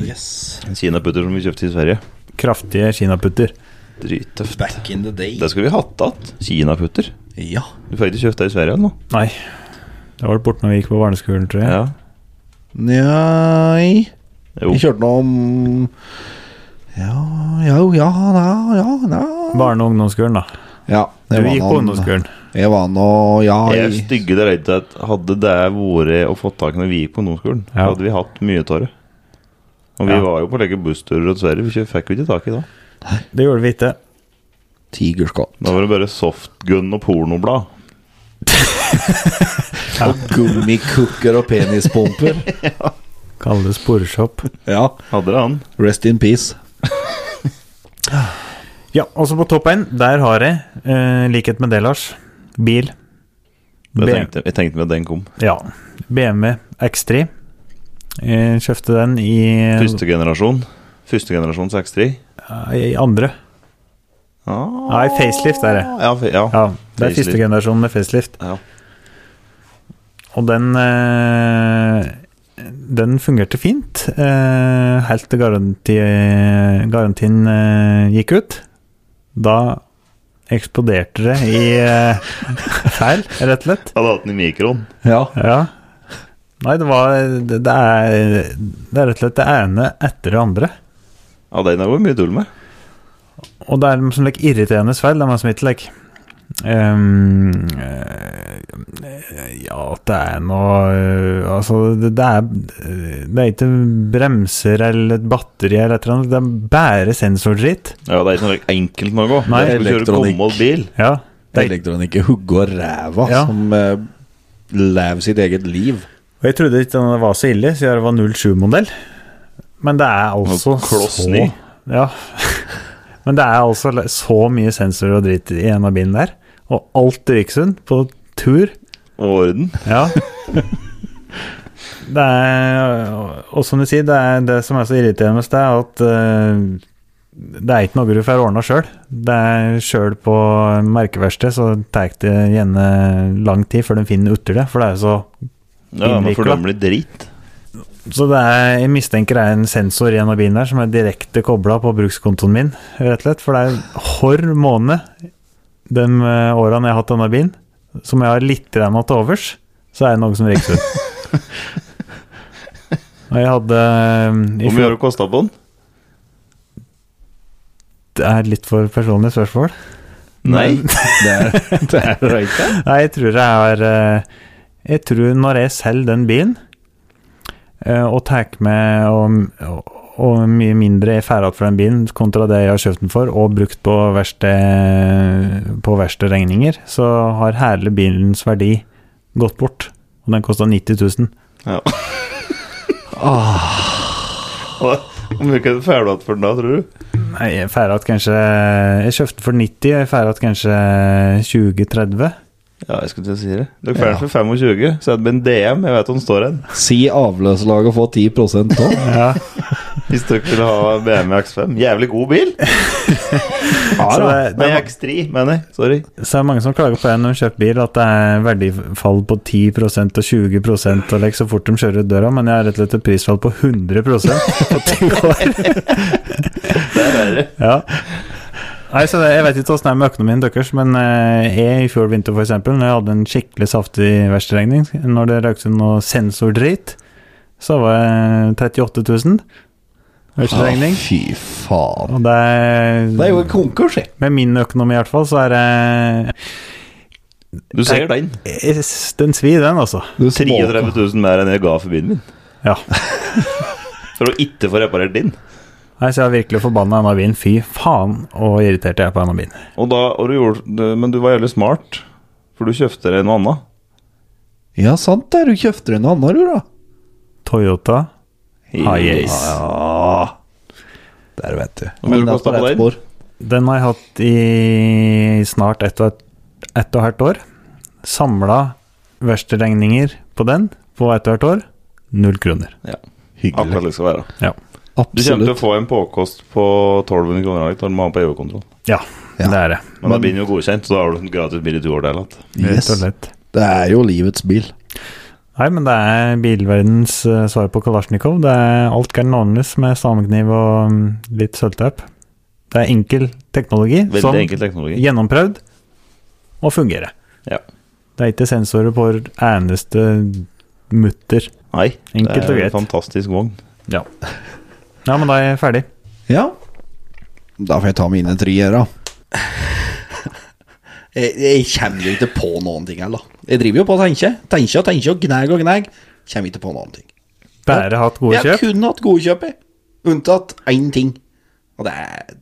En Kinaputter som vi kjøpte i Sverige. Kraftige kinaputter. Drittøft. Back in the day. Det skulle vi hatt igjen. Kinaputter. Ja. Du får ikke kjøpt det i Sverige nå. Nei. Det var det borte når vi gikk på barneskolen, tror jeg. Ja. Nei Jo. Vi kjørte noe om Ja, jo, ja, ja, ja, ja. Barne- og ungdomsskolen, da. ja Du jeg var gikk på noen- ungdomsskolen. Jeg var nå Ja, Jeg er i- stygge til redd at hadde det vært å få tak i når vi gikk på ungdomsskolen, Ja. hadde vi hatt mye tårer. Og vi Ja. var jo på å legge bussturer og Sverige, vi kjø- fikk jo ikke tak i det. Det gjorde vi ikke. tigerskott. Da var det bare softgun og pornoblad. Og gummikukker og penispumper. Kalles boreshop. ja. Hadde det han? Rest in peace. Ja, også på topp én, der har jeg, eh, likhet med det, Lars, bil. Jeg B- tenkte, jeg tenkte med at den kom. Ja. BMW X3. Jeg Eh, kjøpte den i, Første generasjon. Første generasjons X3. eh, i andre. Ah. Nei, facelift er det. Ja, fe- ja. Ja, det er Facelift. første generasjon med facelift. Ja. Og den eh, Den fungerte fint eh, helt til garanti, garantien eh, gikk ut. Da eksploderte det i eh, feil, rett og slett. Hadde hatt den i mikroen. Ja. Ja. Nei, det var Det, det, er, det er rett og slett det ene etter det andre. Ja, den har vært mye tull med. Og det er de som like, irriterende feil. Det er meg som ikke like ehm, eh, Ja, at det er noe eh, Altså, det, det er Det er ikke bremser eller et batteri eller et eller annet. Det er bare sensordritt. Ja, det er ikke noe enkelt noe. Nei, det er som å kjøre elektronikk. gammel bil. Ja. Det er, Elektronikke hugger og ræva Ja. som uh, lever sitt eget liv. og jeg trodde ikke den var så ille, siden det var 07-modell. Men det er altså Kloss så ny. Ja. Men det er altså le- så mye sensorer og dritt i en av bilene der. Og alt Rikssund på tur. Og orden. Ja. Det er Og som du sier, det, er det som er så irriterende med det, er at eh, det er ikke noe du får ordna sjøl. Det er sjøl på merkeverksted, så tar det gjerne lang tid før de finner ut av det. For det er jo så Ja, men for Innviklet. dem blir dritt. Så det er, jeg mistenker det er en sensor i en av bilene her som er direkte kobla på brukskontoen min, rett og slett. For det er hver måned de eh, årene jeg har hatt denne bilen, som jeg har litt grann til overs, så er det noe som rikker ut. Og jeg hadde eh, i Hvor mye har fjor, det kosta på den? Det er litt for personlig spørsmål. Nei. Det er det er det ikke. Nei, jeg tror det er eh, Jeg tror når jeg selger den bilen, eh, og tar med og, og, og mye mindre jeg får igjen for den bilen, kontra det jeg har kjøpt den for, og brukt på verksted På verkstedregninger, så har hele bilens verdi gått bort. Og den kosta 90 000. Ja. Hva- Hvor mye kan du få igjen for den da, tror du? Nei, jeg får igjen kanskje Jeg kjøpte den for 90, og jeg får igjen kanskje 20-30. Ja, jeg skulle til å si det. Dere får den for 25, så er det med en DM. Jeg vet hvor den står hen. Si avløserlaget får 10 nå. Ja. Hvis dere vil ha BMW X5. Jævlig god bil! Så Så det, Eh, det, Nei, er, X3, mener jeg. Sorry. så er det mange som klager på det når de kjøper bil, at det er verdifall på 10 og 20 og like, så fort de kjører ut døra, men jeg har rett og slett et prisfall på 100 på ti år. Det er verre. Ja. Nei, så det, Jeg vet ikke åssen det er med økonomien deres, men eh, jeg i fjor vinter f.eks., når jeg hadde en skikkelig saftig verkstedregning, når det røykte noe sensordrit, så var jeg 38 000 verkstedregning. Fy faen. Og det er- Det er jo en konkurs, jeg. Med min økonomi i hvert fall, så er det Du ser den. es- Den svir, den, altså. Du 33 smaker. 000 mer enn jeg ga for bilen min. Ja. For å ikke få reparert din. Nei, så jeg er virkelig forbanna denne bilen. Fy faen, og irritert jeg er på denne bilen. Og da, og du gjorde, men du var jævlig smart, for du kjøpte deg noe annet. Ja, sant det. Du kjøpte en annen, du, da. Toyota. Ah, yes. Ja Der vet du. Hvor Men mye det det er kostet på på rett den? spor. Den har jeg hatt i snart ett og et, ett og et halvt år. Samla verkstedregninger på den på ett og et halvt år. Null kroner. Ja, Hyggelig. akkurat det skal være. Ja. Du kommer til å Absolutt. få en påkost på 1200 kroner i dag når du må ha på EU-kontroll. ja, Ja. det er det. Men da blir den jo godkjent, så da har du en gratis bil i to år. Det, er lett. Rett Yes. og slett. Det er jo livets bil. Nei, men det er bilverdens eh, svar på Kalasjnikov. Det er alt kan lånes med samekniv og mm, litt sølvteip. Det er enkel teknologi Veldig som enkel teknologi. gjennomprøvd og fungerer. Ja. Det er ikke sensorer på hver eneste mutter. Nei, Enkelt og det er greit. en fantastisk vogn. Ja. ja, men da er jeg ferdig. Ja. Da får jeg ta mine tre her, da. Jeg, jeg kommer jo ikke på noen ting heller. Jeg driver jo på og tenker. Tenker og tenker og gnag og gnag. Kommer ikke på noen ting. Bare hatt gode Jeg har kjøp. kun hatt gode kjøp, jeg. Unntatt én ting. Og det er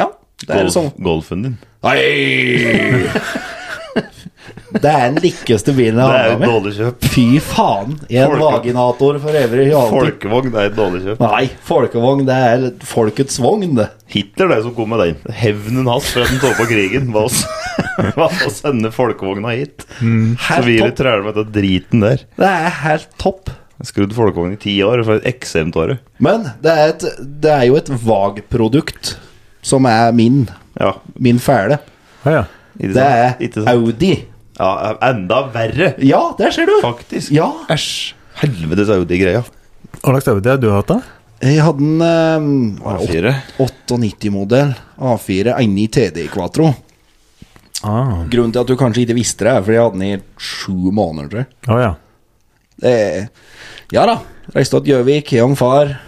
Ja, det er det Golf, sånn. golfen din. Nei! Det er den likeste bilen Det jeg er har jo et med. dårlig kjøp. Fy faen. Jeg er en Folke- vaginator for evig. og alltid. Folkevogn det er et dårlig kjøp. Nei, folkevogn, det er folkets vogn, det. Hitler det som kom med den. Hevnen hans for at han tok på krigen, var å s- var å sende folkevogna hit. Mm. Så vi Helt topp. trøler med den driten der. Det er helt topp. Skrudd folkevogn i ti år for et ekstremt åre. Men det er, et, det er jo et vag-produkt som er min. Ja, Min fæle. Å ja. ikke Det er sant? Ikke sant? Audi. Ja, enda verre, Ja, der ser du. faktisk. Ja. Æsj. Helvetes Audi-greia. Hva slags øvelse har du hatt, da? Jeg hadde en eh, A4. 98-modell A4 Einni TD Quatro. Ah. Grunnen til at du kanskje ikke visste det, er fordi jeg hadde den i sju måneder. tror jeg. Å ja. Det- Ja da. Reiste til Gjøvik, hjem far.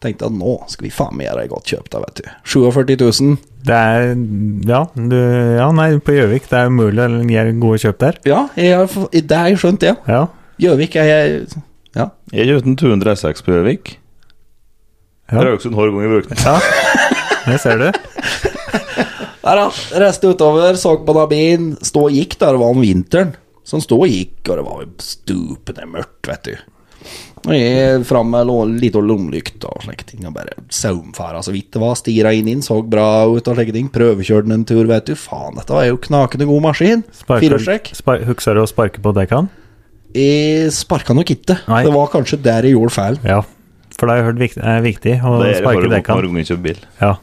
Tenkte at nå skal vi faen meg gjøre et godt kjøp, da, vet du. 47 000. Det er Ja, du, ja nei, på Gjøvik. Det er umulig å gjøre gode kjøp der. Ja, jeg har, f- det har jeg skjønt, det. Ja. Gjøvik er jeg Ja. Jeg kjøpte en 206 på Gjøvik. Ja. Rauksund hver gang jeg brukte den. ja. Det ser du. Der, da. Reiste utover, så på den bilen. Stå og gikk, da. Det var om vinteren. Så han sto og gikk, og det var jo stupende mørkt, vet du. Og jeg fram med lå- lite lommelykt og slike ting, og bare saumfara så vidt det var. Stira inn, inn, så bra ut og slike ting. Prøvekjørte den en tur, vet du. Faen, dette var jo knakende god maskin. Firehjulstrekk. spar, Husker du å sparke på dekkene? Jeg sparka nok ikke. Nei. Det var kanskje der jeg gjorde feil. Ja. For det har jeg hørt vikt, er viktig å Det er det sparke forrige gang hver dekkene. gang jeg kjøper bil. Ja.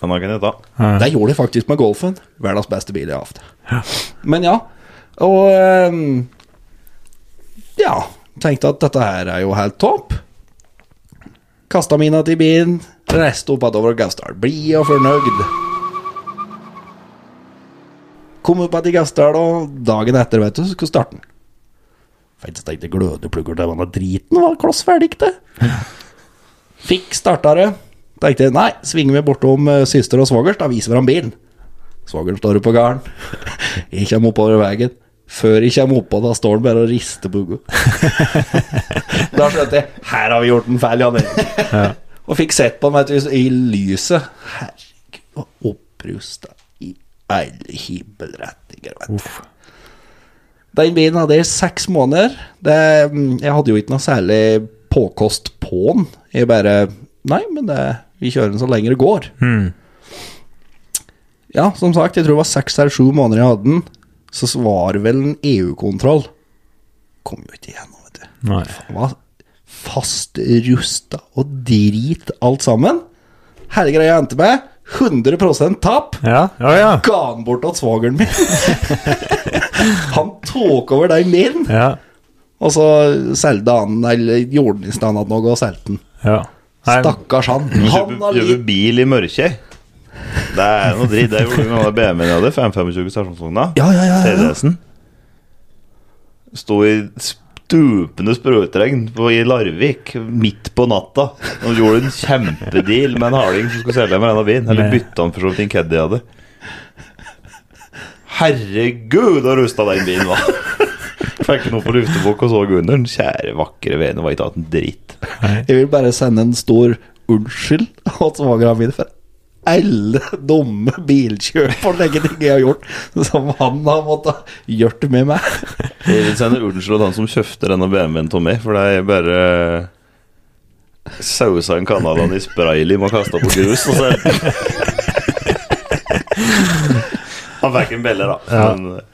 Den har ikke jeg ta. Det gjorde jeg faktisk med Golfen. Verdens beste bil jeg har hatt. Men ja. Og ehm, Ja. Tenkte at dette her er jo helt topp. Kasta mina til bilen, reiste opp over Gausdal. Blid og fornøyd. Kom opp til Gausdal, og dagen etter, vet du, så skulle starten. Fantes det ikke glødeplugger til denne driten? Var kloss ferdig, det. Fikk starta det. Tenkte jeg, nei, svinger vi bortom eh, søster og svogers, da viser vi ham bilen. Svogeren står jo på gården. Jeg kommer oppover veien. Før jeg kommer oppå, da står han bare og rister på hodet. da skjønte jeg her har vi gjort en feil, Jan Erik. Og fikk sett på ham vet du, i lyset. Herregud, og opprusta i alle himmelretninger. Vet du. Uff. Den bilen hadde jeg i seks måneder. Det, mm, jeg hadde jo ikke noe særlig påkost på den. Jeg bare Nei, men det, vi kjører den så lenge det går. Ja, som sagt, jeg tror det var seks eller sju måneder jeg hadde den. Så E var det vel en EU-kontroll. Kom jo ikke igjennom, vet du. Nei. Det var fastrusta og drit alt sammen. Hele greia endte med 100 tap. Ja, ja, ja. Ga han bort til svogeren min. han tok over den bilen, ja, og så solgte han Eller gjorde han i stand at noe og solgte den. ja. Nei, Stakkars han. Han Kjøper har litt kjøper bil i Mørkjei. Det er noe dritt. Det gjorde vi med den BMW-en jeg hadde. 525 stasjonsvogna. Ja, ja, ja, ja. TDS-en. Sto i stupende sprøyteregn på- i Larvik midt på natta. Og gjorde en kjempedeal med en harding som skulle selge meg denne bilen. Eller bytte han for så vidt en Caddy jeg hadde. Herregud, så rusta den bilen var! Fikk ikke noe på luftebukk og så under den. Kjære, vakre vene, var ikke tatt en dritt. Jeg vil bare sende en stor unnskyld til svogeren min for alle dumme bilkjøp og legge ting jeg har gjort, som han har måttet gjort med meg. Jeg vil sende unnskyld til han som kjøpte denne BMW-en av meg, for det er bare eh, sausa en Canadaen i spraylim og kasta på grus, og så Han fikk en belle, da. Ja. Men, eh,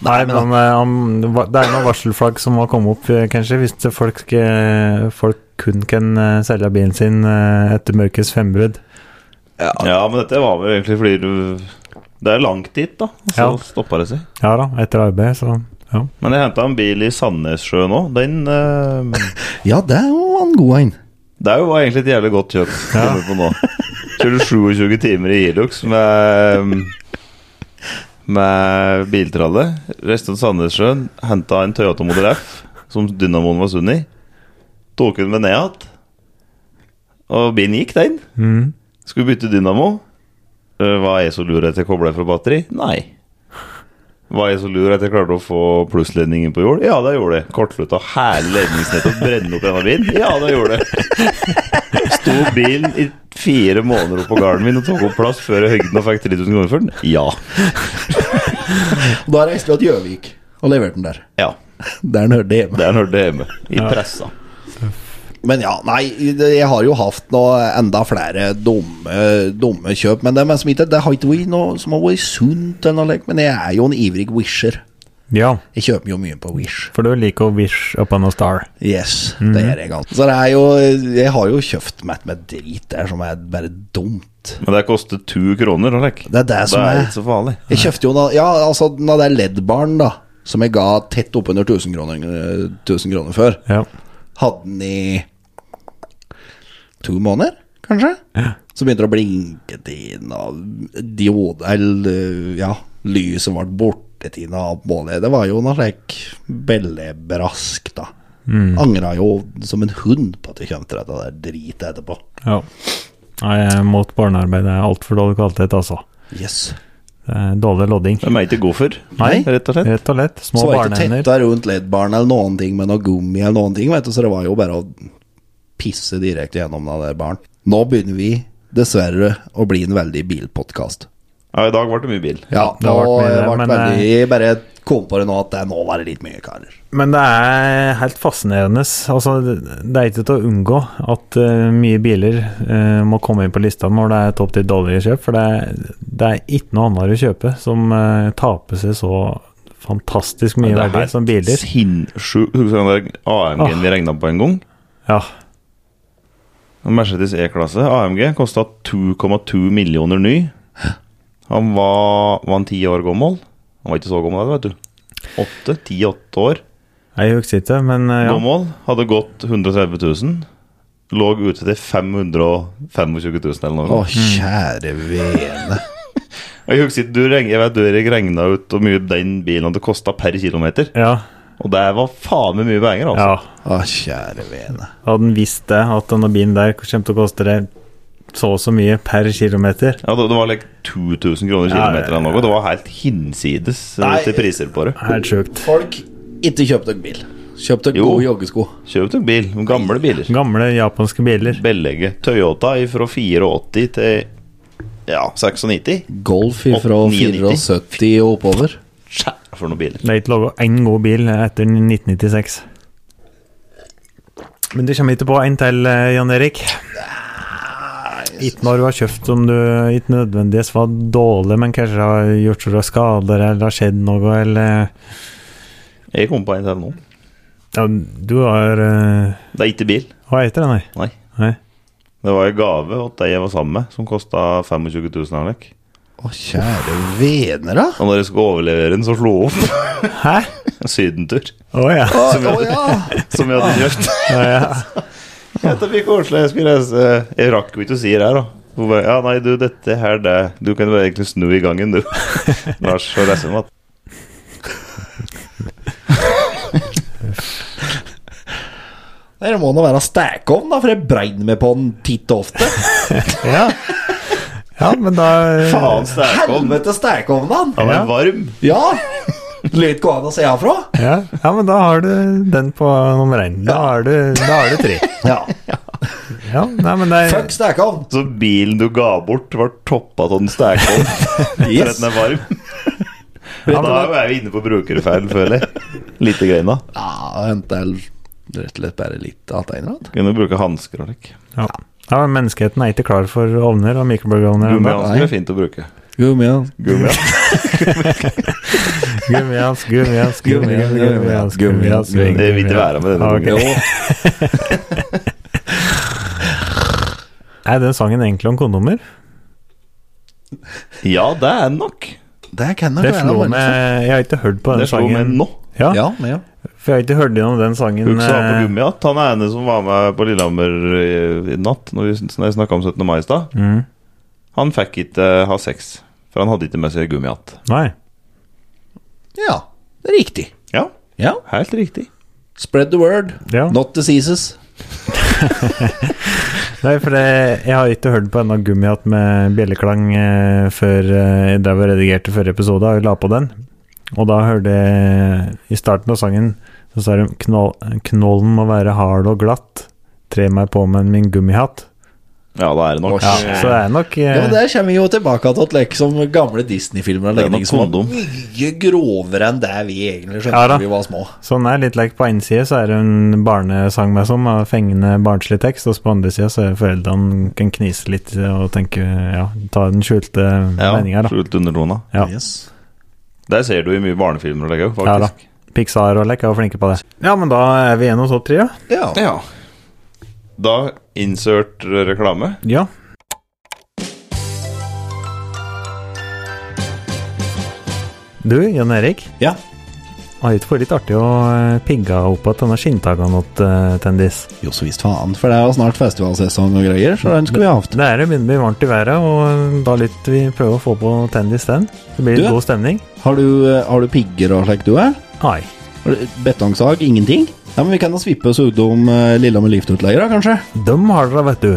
Nei, men eh, om- det er noen varselflagg som må komme opp, eh, kanskje, hvis det folk, eh, folk kun kan eh, selge bilen sin eh, etter mørkets fembrudd. ja, men dette var vel egentlig fordi du Det er langt dit, da. og Så Ja. stoppa det seg. Ja da, etter arbeid, så ja. Men jeg henta en bil i Sandnessjøen òg. Den eh, Ja, det er jo en god en. Det er jo egentlig et jævlig godt kjøp. kommer på nå. Kjører 27 timer i Hilux med, med biltralle. Reiste til Sandnessjøen, henta en Toyota Model F som dynamoen var sunn i. Tok den med ned igjen. Og bilen gikk, den. Mm. Skulle bytte dynamo. Eh, Var jeg så lur at jeg kobla fra batteri? Nei. Var jeg så lur at jeg klarte å få plussledningen på jord? Ja, det gjorde jeg. Kortslutta hele ledningsnettet og brenne opp denne bilen? Ja, det gjorde jeg. Sto bilen i fire måneder oppå gården min og tok opp plass før jeg høgde den og fikk 3000 kroner for den? Ja. Da reiste vi til Gjøvik og leverte den der. Ja. Der den hørte hjemme. Det er når det er hjemme. I pressa. Men ja, nei, det- jeg har jo hatt noe enda flere dumme, dumme kjøp. Men det, men som ikke, det har ikke vært noe som har vært sunt, eller noe, like, men jeg er jo en ivrig wisher. ja, Jeg kjøper jo mye på Wish. for du liker å wish upon a star. Yes, Mhm. det gjør jeg alltid. Så det er jo, jeg har jo kjøpt meg med drit der som er bare dumt. Men det koster to kroner, Alek. Det er det som er er- ikke så farlig. Jeg kjøpte jo, da- ja, altså den der LED-baren da, som jeg ga tett oppunder 1000 kroner, eh, 1000 kroner før, Ja. hadde den i to måneder, kanskje? Så begynte det å blinke til den, og diode, eller eh, ja, lyset ble borte til den, og målet, det var jo noe slik bellebrask da. Mm. Angra jo som en hund på at jeg kom til dette der dritet etterpå. ja. Nei, jeg er mot barnearbeid. Det er altfor dårlig kvalitet, altså. Yes. Det er dårlig lodding. De er ikke gode for, Nei. rett og slett. Rett og lett. Små Så var det ikke barnehender. tetta rundt ledbaren eller noen ting med noe gummi eller noen ting, vet du, så det var jo bare å pisse direkte gjennom den der baren. Nå begynner vi dessverre å bli en veldig bilpodkast. Ja, I dag ble det mye bil. Ja, det nå har vært mye, eh, ble men, veldig, jeg bare kom på det nå at det nå var det litt mye, karer. Men det er helt fascinerende. Altså, det er ikke til å unngå at eh, mye biler eh, må komme inn på lista når det er topp til dårlige kjøp, for det er, det er ikke noe annet å kjøpe som eh, taper seg så fantastisk mye Det er verdi helt som biler. Sinnssykt. Husker du den der AMG-en vi regna på en gang? Ja. En Mercedes E-klasse. AMG kosta 2,2 millioner ny. Han var, var han ti år gammel? Han var ikke så gammel, da, vet du. Åtte? Ti-åtte år Jeg husker ikke, men eh, ja. gammel. Hadde gått 130 000. Lå ute til 525 000 eller noe. Å, kjære vene. Jeg husker ikke, du regner, jeg vet du Erik regna ut hvor mye den bilen hadde kosta per kilometer. Ja. Og det var faen meg mye penger, altså. ja. Å, kjære vene. Hadde han visst det, at denne bilen der kommer til å koste deg så og så mye per kilometer Ja, det, det var like 2000 kroner Ja, kilometeren eller noe. Det var helt hinsides eh, Nei. til priser på det. Helt sjukt. Folk, ikke kjøp dere bil. Kjøp dere Jo. gode joggesko. Kjøp deg bil. Gamle biler. Gamle japanske biler. Bellegge. Toyota fra 84 til ja, 96. Golf fra 89. 74 og oppover. Tja, for noen Det biler. er ikke laga én god bil etter 1996. Men du kommer ikke på en til, eh, Jan Erik. Ikke når du har kjøpt som du ikke nødvendigvis var dårlig, men kanskje har gjort så du har skader, eller det har skjedd noe, eller Jeg kom på en til nå. Ja, du har eh, Det er ikke bil. Hva heter den, nei? Nei. Nei. Det var en gave til de jeg var sammen med, som kosta 25 000 eller noe. Å, kjære vener, da. Og når jeg skulle overlevere den, så slo hun opp. Hæ? En sydentur. Å ja. Å å, ja. Som jeg hadde kjøpt. Å, ja. Dette blir koselig. Jeg skulle reise Jeg rakk jo ikke å si det her, da. Hun bare Ja, nei, du, dette her, det Du kan bare egentlig snu i gangen, du. Lars og Ressum, at Det må nå være stækovn, da, for jeg bregner meg på den titt og ofte. ja. Ja, men da Faen, Stækom. Helvete stækovnen! Han er varm. Ja! Litt gå an å se herfra. ja. ja, men da har du den på nummer én. Da har du, da har du tre. Ja. Ja, nei, men det er Fuck stækovn! Så bilen du ga bort, var toppa av den Stækom. For at den er varm. Ja, da er vi inne på brukerfeil, føler jeg. Lite greina. Ja, hente rett og slett bare litt atteiner igjen. Kunne bruke hansker og lik. ja. ja, men menneskeheten er ikke klar for ovner og mikrobølgeovner ennå. Gummihansker er fint å bruke. Gummihansker. Gummihansk, gummihansk, gummihansk, gummihansk, gummihansk, Det Det vil ikke være med denne Ja, ok. ungen. Er den sangen egentlig om kondomer? Ja, det er nok. Det kan nok Det være slo mange meg Jeg har ikke hørt på den Det slo sangen. meg nå. Ja, som- Ja, men ja. For jeg har ikke hørt gjennom den sangen Hun sa på eh, gummihatt. Han ene som var med på Lillehammer eh, i natt, når vi snakka om 17. mai i stad, mm, han fikk ikke eh, ha sex. For han hadde ikke med seg gummihatt. Nei. Ja, det er riktig. Ja, Ja. helt riktig. Spread the word, Ja. not diseases. Nei, for det, jeg har ikke hørt på ennå gummihatt med bjelleklang eh, før eh, jeg drev og redigerte forrige episode og la på den. Og da hørte jeg I starten av sangen så sa de Knål, 'Knollen må være hard og glatt'. Tre meg på med min gummihatt. Ja, da er det nok. Å, shit. Så det er nok eh, Ja, men Der kommer vi jo tilbake til at liksom gamle Disney-filmer og Det er legning nok som var kondom. mye grovere enn det vi egentlig skjønte Ja, da da. vi var små. Sånn er litt like på en side så er det en barnesang med som har fengende barnslig tekst, og på andre sida så er foreldrene kan knise litt eh, og tenke ja, ta den skjulte Ja, meninga, da. Skjult under tona. Ja. Yes. Der ser du i mye barnefilmer og legger, Ja da. faktisk. Pixar og Lek er jo flinke på det. Ja, men da er vi igjen hos topp tre, ja. Ja. Ja. Da insert reklame. ja. Du, Jan Erik, ja. har ikke vært litt artig å eh, pigge opp at denne skinntaggene åt eh, Tendis? Jo, så visst faen, for det er jo snart festivalsesong og greier, så den skulle vi hatt. Det er det begynner å bli varmt i været, og da litt vi prøver å få på Tendis den. Det blir litt Du? god stemning. Har du, eh, har du pigger og slik du eh? er? Nei. Har du Betongsag? Ingenting? Ja, men vi kan da svippe oss utom eh, Lillehammer Liftutleier, da, kanskje? De har dere, vet du.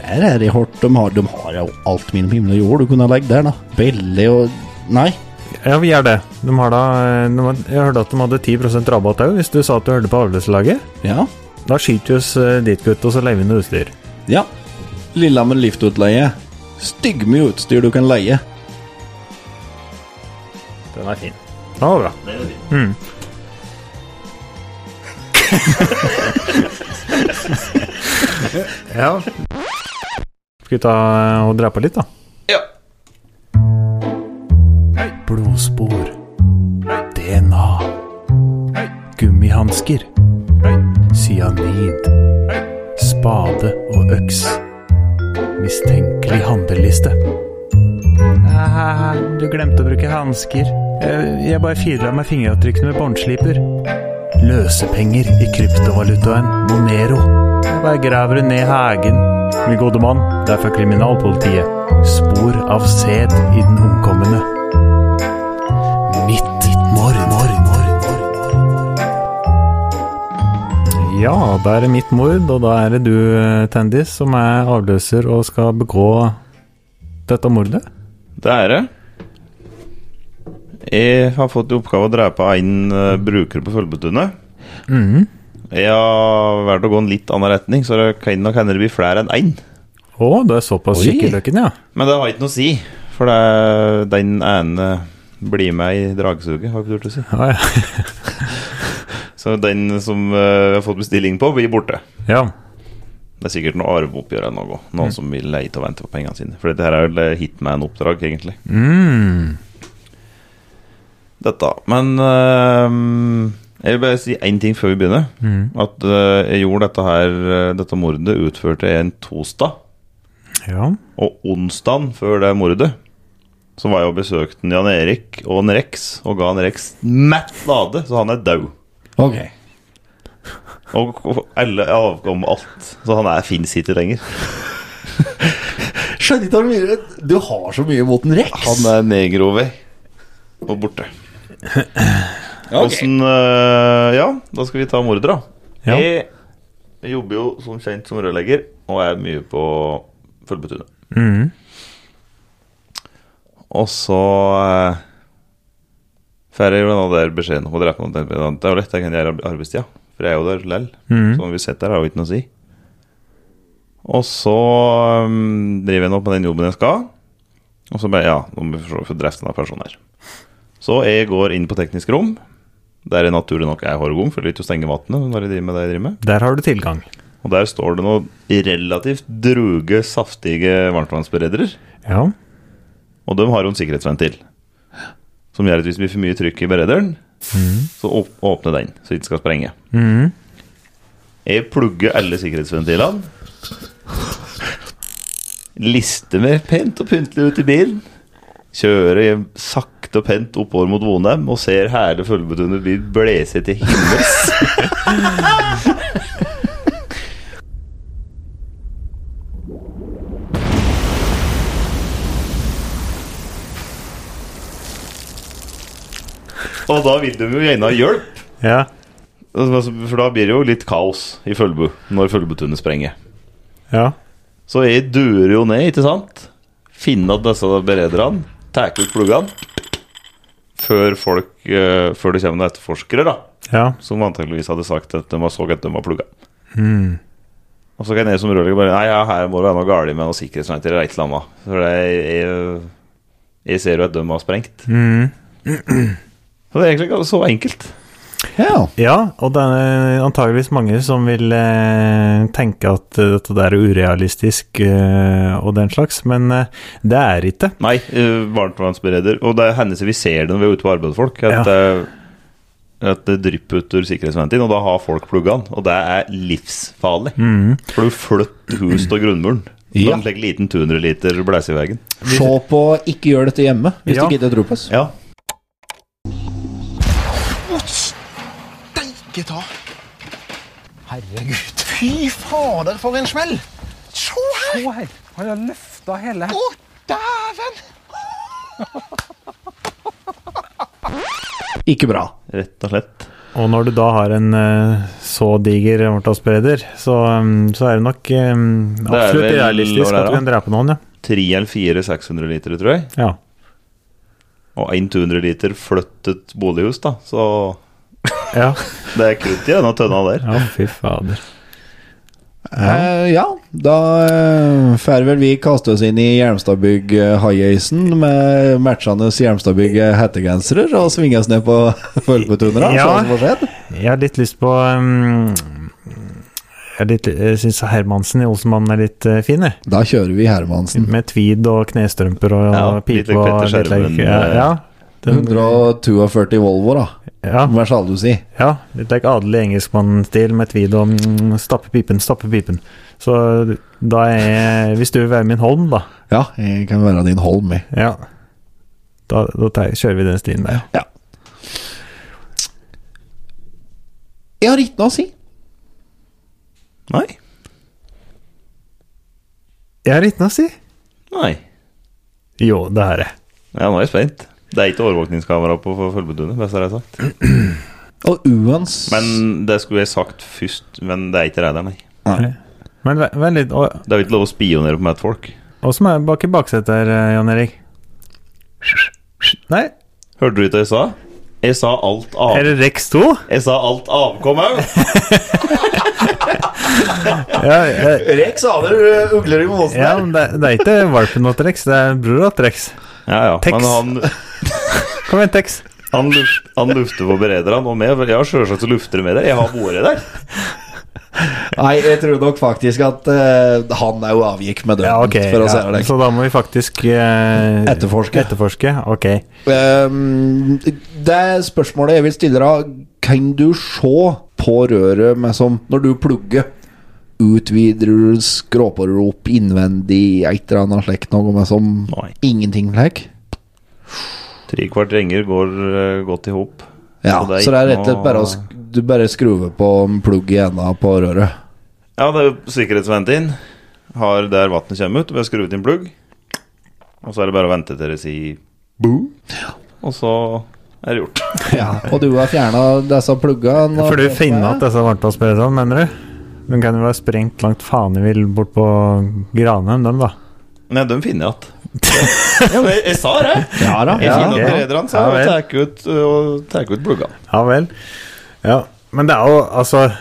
Der er det hardt. De har, de har jo alt mellom himmel og jord. Du kunne ha legget der, da. Belle og Nei. Ja, vi gjør det. De har da, de, har- jeg hørte at de hadde 10 rabatt òg, hvis du sa at du hørte på avløserlaget. Ja. Da skyter vi oss eh, dit, gutt, og så leier vi inn utstyr. Ja. Lillehammer Liftutleie. Styggmye utstyr du kan leie. Den er fin. Den var bra. Mm. ja. Skal vi ta eh, og dra på litt, da? Ja. Blodspor. DNA. Gummihansker. Cyanid. Spade og øks. Mistenkelig handleliste. Du glemte å bruke hansker. Eh, Jeg bare fila med fingeravtrykkene med båndsliper. Løsepenger i kryptovalutaen Monero. Jeg bare graver det ned i hagen. Min gode mann, det er fra kriminalpolitiet. Spor av sæd i den omkomne. Mitt mord, mord, mord, Ja, da er det mitt mord, og da er det du, eh, Tendis, som er avløser og skal begå dette mordet. Det er det. Jeg har fått i oppgave å drepe en eh, bruker på Følgetunet. Jeg har valgt å gå en litt annen retning, så det kan nok hende det blir flere enn én. Å, du er såpass Oi. kikk i løkken, ja. Men det har ikke noe å si, for det, den ene blir med i dragsuget, har jeg ikke turt å si. Ja, ja. Så den som eh, jeg har fått bestilling på, blir borte. ja. Det er sikkert noe arveoppgjør eller noe. Noen som vil leie til å vente på pengene sine. For dette her er vel eh, hitman-oppdrag, egentlig. Mm. Det dette. Men eh, jeg vil bare si én ting før vi begynner. At eh, jeg gjorde dette her eh, Dette mordet utførte jeg en torsdag. Ja. Og onsdagen før det mordet Så var jeg og besøkte en Jan Erik og en Rex Og ga en Rex mett lade Så han er død Ok. Og og alle er avkom alt Så han er finnes ikke lenger Skjønner ikke hvor mye Du har så mye mot en Rex. Han er negerover Og borte Hvordan, øh, Ja, da skal vi ta mordet da Ja. Jeg jobber jo som kjent som rørlegger Og er mye på følgebetunet Mhm. Og så eh, får jeg jo den der beskjeden om å drepe noen. Det er jo lett, jeg kan gjøre arbe- arbeidstida, for jeg er jo der lell. Mhm. Så når vi sitter der, har jo ikke noe å si. Og så um, driver jeg nå på den jobben jeg skal, og så bare Ja, nå må vi for så vidt få drept denne personen her. Så jeg går inn på teknisk rom, der jeg naturlig nok er horgom, for det er ikke å stenge vannet når jeg driver med det jeg driver med. Der har du tilgang. Og der står det noen relativt druge, saftige varmtvannsberedere. Ja. Og de har jo en sikkerhetsventil. Som gjør at hvis det blir for mye trykk i berederen, så åp åpner den, så det ikke skal sprenge. Mhm. Jeg plugger alle sikkerhetsventilene. Lister meg pent og pyntelig ut i bilen. Kjører hjem sakte og pent oppover mot Vonheim og ser herlig følgebetunnet bil blæse til himmels. og da vil de jo gjerne ha hjelp. Ja. Altså, For da blir det jo litt kaos i Følbu når Følbutunet sprenger. Ja. Så jeg durer jo ned, ikke sant? Finner at disse berederne tar ut pluggene før, folk, eh, før det kommer noen etterforskere, da, Ja. som antakeligvis hadde sagt at de har så at de var plugga. Og så kan jeg som rørlegger bare Nei, ja, her må det være noe galt med noe sikkerhetsventiler eller et eller annet. For det, jeg, jeg ser jo at de har sprengt. Mhm. Så det er egentlig ikke så enkelt. Ja. Ja, og det er antageligvis mange som vil eh, tenke at eh, dette der er urealistisk eh, og den slags, men eh, det er ikke. Nei, eh, varmtvannsbereder. Og det hendes vi ser det når vi er ute på arbeid med folk, at, eh, at det drypper ut ur sikkerhetsventilen, og da har folk pluggene. Og det er livsfarlig. For du flytter hus til grunnmuren. Ja. Mm. Ja. En slik liten 200 liter blæs i veggen. Se på Ikke gjør dette hjemme, hvis Ja. du gidder å tro på oss. Ja. Steike ta! Herregud. Fy fader, for en smell! Se her! Å, her. Han har løfta hele Å, dæven! Ikke bra. Rett og slett. Og når du da har en eh, så diger varmtvannsbereder, så, um, så er det nok um, er absolutt vel realistisk når det er, at du kan drepe noen, ja. Tre eller fire 600 liter, tror jeg. ja. Og en 200 liter flyttet bolighus, da. Så Ja, det er krutt i denne tønna der. ja fy fader. Eh, ja, da eh, får vel vi kaste oss inn i Hjelmstadbygg eh, Highasen med matchende Hjelmstadbygg eh, hettegensere og svinge oss ned på Følgetunera. Ja. Ja. Jeg har litt lyst på um, Jeg, har litt- jeg syns Hermansen i Olsenmannen er litt eh, fin, jeg. Da kjører vi Hermansen. Med tweed og knestrømper og Mm. Ja, litt pipe like og Petter litt like, Skjerven, ja, eh, ja, den, 142 Volvo, da. ja, Hva skal du si? ja, litt like adelig engelskmann-stil med tweed og mm, stappe pipen, stappe pipen. Så da er jeg Hvis du vil være min Holm, da, Ja, jeg kan være din Holm, jeg. ja, da, da tar, kjører vi den stilen der. Ja. Jeg har ikke noe å si. Nei. Jeg har ikke noe å si. Nei. Jo, det har jeg. Ja, nå er jeg spent. Det er ikke overvåkningskamera på Følgebetunet, best har jeg sagt. Og uans... Men det skulle jeg sagt først, men det er ikke reideren, nei. Nei. Men vær- vær litt og- Det er jo ikke lov å spionere på møtfolk. Og som er bak i baksetet her, eh, Jan Erik? Nei, Hørte du ikke hva jeg sa? Jeg sa alt er av det Rex 2? Jeg sa alt avkom òg! Ja, eh, Rex aner ugler i måsen ja men det, det er ikke valpen til Rex, det er bror til Rex. Ja, ja. Tex. Men han, Kom igjen, Tex. han, luft, han lufter på berederne og meg. for Jeg har sjølsagt lufter med der. Jeg har vært der. Nei, jeg tror nok faktisk at eh, han òg avgikk med døden, Ja, ok. for å si Ja. det Så da må vi faktisk eh, Etterforske. etterforske. Ok. Ehm, det spørsmålet jeg vil stille deg, kan du se på røret med som Når du plugger, utvider du skråpårer opp innvendig et eller annet slikt noe med som Nei. ingenting slik? Tre kvart renger går eh, godt i hop. Ja, Så det er så det er ikke rett og slett noe- bare å sk du bare skruver på en plugg i enda på røret. Ja, det er jo sikkerhetsvendt inn. Har der vannet kommer ut, vi har skrudd inn plugg. Og så er det bare å vente til det sier boo. Og så er det gjort. Og du har fjerna disse pluggene? og- For du finner at disse varmtvannsberederne, mener du? De kan jo være sprengt langt fanevill bort på Granheim, dem, da. Nei, de finner jeg igjen. Ja, men jeg, jeg sa det! Ja da. Jeg Ja, finner ok. igjen berederne, så Ja, jeg vel. tar ut, og tar ut pluggene. Ja vel. Ja, men det er jo altså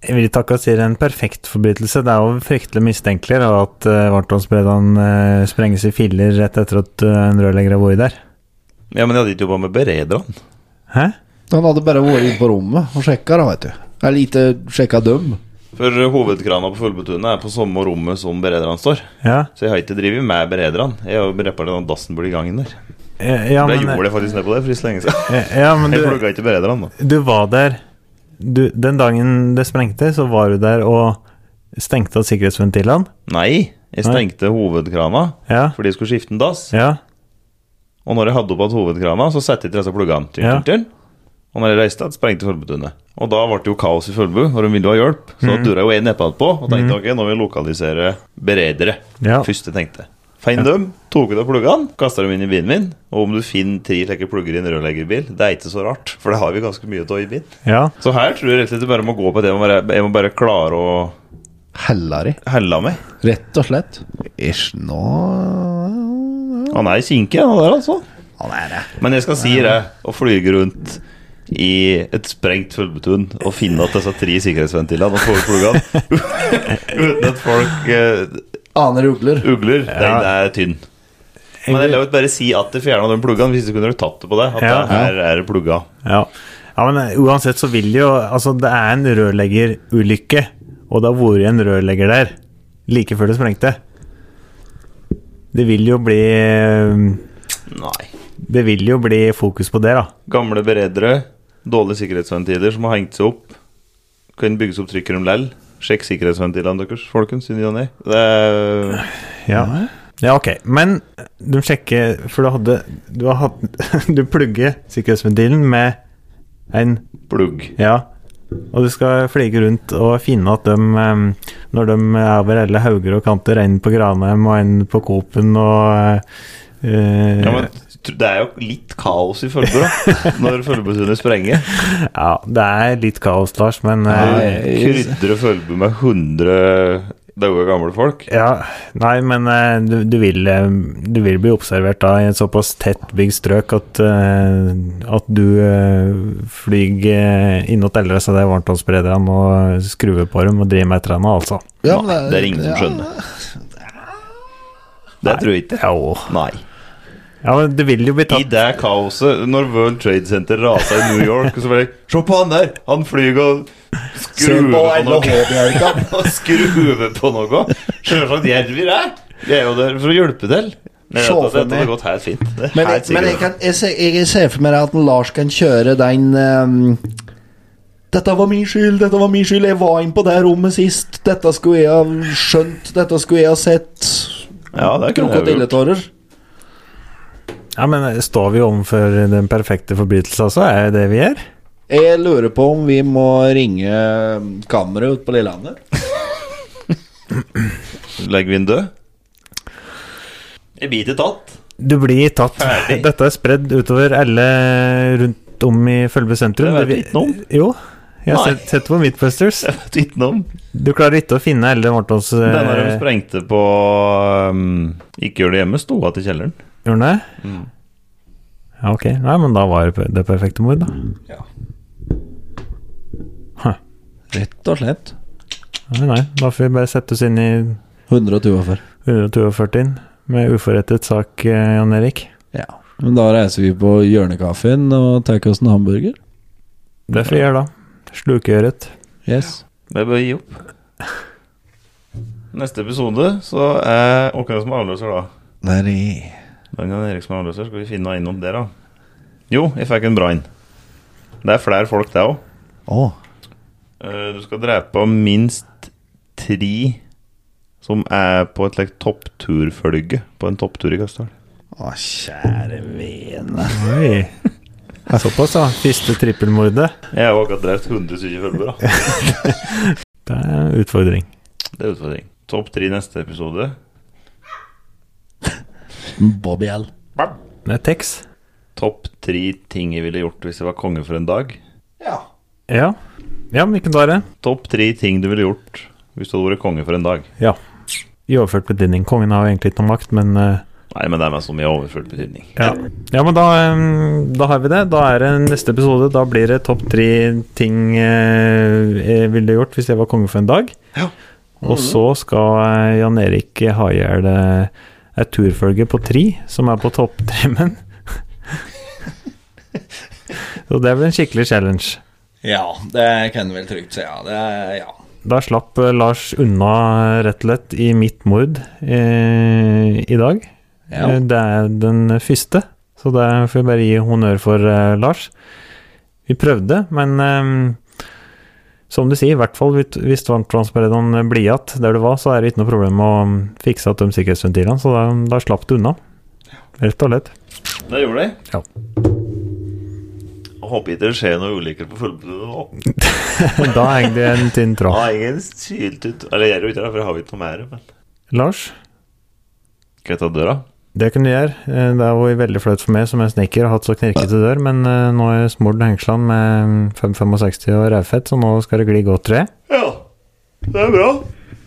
Jeg vil ikke akkurat si det er en perfekt forbrytelse. Det er jo fryktelig mistenkelig da, at uh, varmtvannsberederen eh, sprenges i filler rett etter at eh, en rørlegger har vært der. Ja, men jeg hadde ikke jobba med berederne. Hæ? Han hadde bare vært inne på rommet og sjekka, da, vet du. Eller ikke sjekka dem. For hovedkrana på Fullbetune er på samme rommet som berederne står. Ja, Så jeg har ikke drevet med berederne. Jeg har reparert den dassen borti gangen der. Eh, ja Men jeg men, gjorde det faktisk ned på det for ikke så lenge siden. eh, ja, men du, Jeg plugga ikke berederne, da. du var der du, Den dagen det sprengte, så var du der og stengte av sikkerhetsventilene? Nei, jeg stengte hovedkrana Ja. fordi jeg skulle skifte en dass. Ja. Og når jeg hadde opp igjen hovedkrana, så satte jeg til disse pluggene. Tyn, Ja. tyn, tyn. Og når jeg reiste igjen, sprengte Følgebutunet. Og da ble det jo kaos i Følgebu, og de ville ha hjelp. Så da Mm. dura jo jeg nedpå på og tenkte ok, nå vil jeg lokalisere beredere. Ja. Først jeg tenkte. Finn dem, tok ut av pluggene, kasta dem inn i bilen min. Og om du finner tre slike plugger i en rørleggerbil, det er ikke så rart, for det har vi ganske mye av i bilen. ja. Så her tror jeg rett og slett jeg bare må gå på det. Jeg må bare, jeg må bare klare å Hellari. helle meg. Rett og slett. Ish, nå Han er kinkig, han der, altså. Han er det. Men jeg skal si det, å flyge rundt i et sprengt fullbetun og finne at disse tre sikkerhetsventilene og få ut pluggene uten at folk eh, Aner ugler. ugler, Ja. den er tynn. Men jeg la ut bare si at de fjerna de pluggene, hvis de kunne ha tatt det på det. At Ja. det her er det plugga. Ja, ja men eh, uansett så vil jo Altså, det er en rørleggerulykke, og det har vært en rørlegger der like før det sprengte. Det vil jo bli eh, Nei. Det vil jo bli fokus på det, da. Gamle beredere, dårlige sikkerhetsventiler som har hengt seg opp. Kan bygges opp trykker om lell. Sjekk sikkerhetsventilene deres, folkens, i ny og ne. Det er- Ja. ja, ok. Men de sjekker For du hadde Du, har hatt, du plugger sikkerhetsventilen med en Plugg. Ja. Og du skal flyge rundt og finne at de, em, når de er over alle hauger og kanter, en på Granheim og en på Coop-en og eh, Ja, men tr- det er jo litt kaos i Følgebu, da. Når Følgebutunet sprenger. ja, det er litt kaos, Lars, men eh, Krydre Følgebu med 100 daue gamle folk. ja, Nei, men eh, du, du, vil, eh, du vil bli observert da i et såpass tett bygd strøk at, eh, at du eh, flyr eh, innåt alle disse der varmtvannsberederne og skruer på dem og driver med et eller annet, altså. Ja, Nei, det er ingen som skjønner. Det tror jeg ikke. Jo. Nei. Ja, men du vil jo bli I tatt det kaoset, når World Trade Center rasa i New York, og så bare Se på han der! Han flyr og skrur på noe. Og skrur på noe. Sjølsagt gjør vi det. Vi er jo der for å hjelpe til. Men Se dette, for dette meg. hadde gått helt fint. Det er Men, helt jeg, men jeg, sikkert. kan, jeg, ser, jeg ser for meg at en Lars kan kjøre den ehm, Dette var min skyld, dette var min skyld, jeg var inne på det rommet sist. Dette skulle jeg ha skjønt, dette skulle jeg ha sett. Ja, det kunne jeg jo gjort. Krokodilletårer. Ja, men eh, står vi overfor den perfekte forbrytelse, altså? Er det det vi gjør? Jeg lurer på om vi må ringe ehm, kammeret ute på Lillehammer. Legger vi den død? Jeg biter tatt. Du blir tatt. Ferdig. Dette er spredd utover alle rundt om i Følge sentrum. Det vet vi- ikke noe om. Jo. Jeg har Nei. sett, sett på Meatbusters. Utenom. Du klarer ikke å finne alle Mortons eh, Den der de sprengte på um, Ikke gjør det hjemme, sto igjen til kjelleren. urne. Ja, ok. Nei, men da var det per- det perfekte mord, da. Mm. Rett og slett. Nei, nei. Da får vi bare sette oss inn i 142. 142 inn med uforrettet sak, eh, Jan Erik. Ja. Men da reiser vi på hjørnekaffen og tar oss en hamburger. Det får vi gjøre, da. Slukeøret. Yes. Det er bare å gi opp. Neste episode så er Åkne som er avløser, da. Der i Den er Erik som er avløser. Skal vi finne noe innom der, da? Jo, jeg fikk en brann. Det er flere folk, det òg. Å. Eh, Du skal drepe minst tre som er på et like, toppturfølge på en topptur i Gassdal. Å, kjære vene. Oi. Såpass, da. Første trippelmordet. Jeg har jo akkurat drept 100 stykker følgere. da. Det er en utfordring. Det er utfordring. Topp tre neste episode. Bobby L. Det er Tex. Topp tre ting jeg ville gjort hvis jeg var konge for en dag. Ja. Ja. ja, men ikke bare. Topp tre ting du ville gjort hvis du hadde vært konge for en dag. Ja. I overført betydning. Kongen har jo egentlig ikke noe makt, men eh, Nei, men det er meg som i overført betydning. ja. ja, men da, eh, da har vi det. Da er det neste episode. Da blir det topp tre ting eh, jeg ville gjort hvis jeg var konge for en dag. Ja. Og så skal eh, Jan Erik ha i hjel eh, et turfølge på tri, som er på topptrimmen. Så det blir en skikkelig challenge. ja, det kan vel trygt si. Ja. Det er, ja. Da slapp eh, Lars unna eh, rett og slett i mitt mord eh, i dag. Ja. Eh, Det er den første, så det får jeg bare gi honnør for eh, Lars. Vi prøvde, men eh, som du sier, i hvert fall hvis- hvis varmtvannsberederen blir igjen der du var, så er det ikke noe problem å mm, fikse igjen de sikkerhetsventilene, så da, da slapp du unna. Rett og slett. Det gjorde jeg. Ja. Og håper ikke det skjer noen ulykker på fullblodet nå. Da henger det en tynn Da tråd. er ingen sylt ut Eller jeg er jo ikke det, for jeg har ikke noe mer. Men Lars? skal jeg ta døra? Det kan du gjøre. Eh, Det er jo veldig flaut for meg som er snekker og har hatt så knirkete dør, men eh, nå er smurt hengslene med mm, 5,65 og rævfett, så nå skal det gli godt, tror jeg. Ja. Det er bra.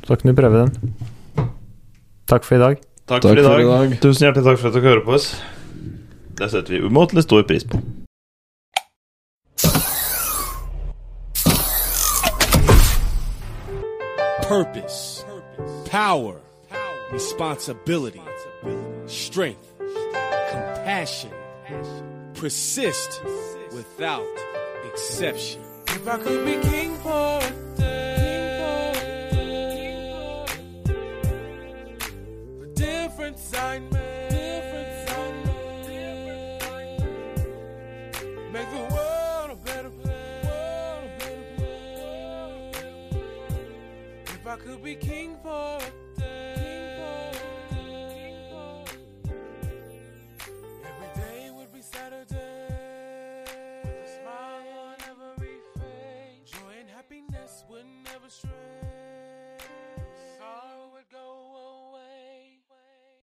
Så kan du prøve den. Takk for i dag. Takk, for, i for i dag. dag. Tusen hjertelig takk for at dere hører på oss. Det setter vi umåtelig stor pris på. purpose, power, responsibility, strength, compassion. Persist without exception. If I could be king for a day, the difference I made, make the world a better place. If I could be king for a day, every day would be Saturday. With a smile on every face, joy and happiness would never stray.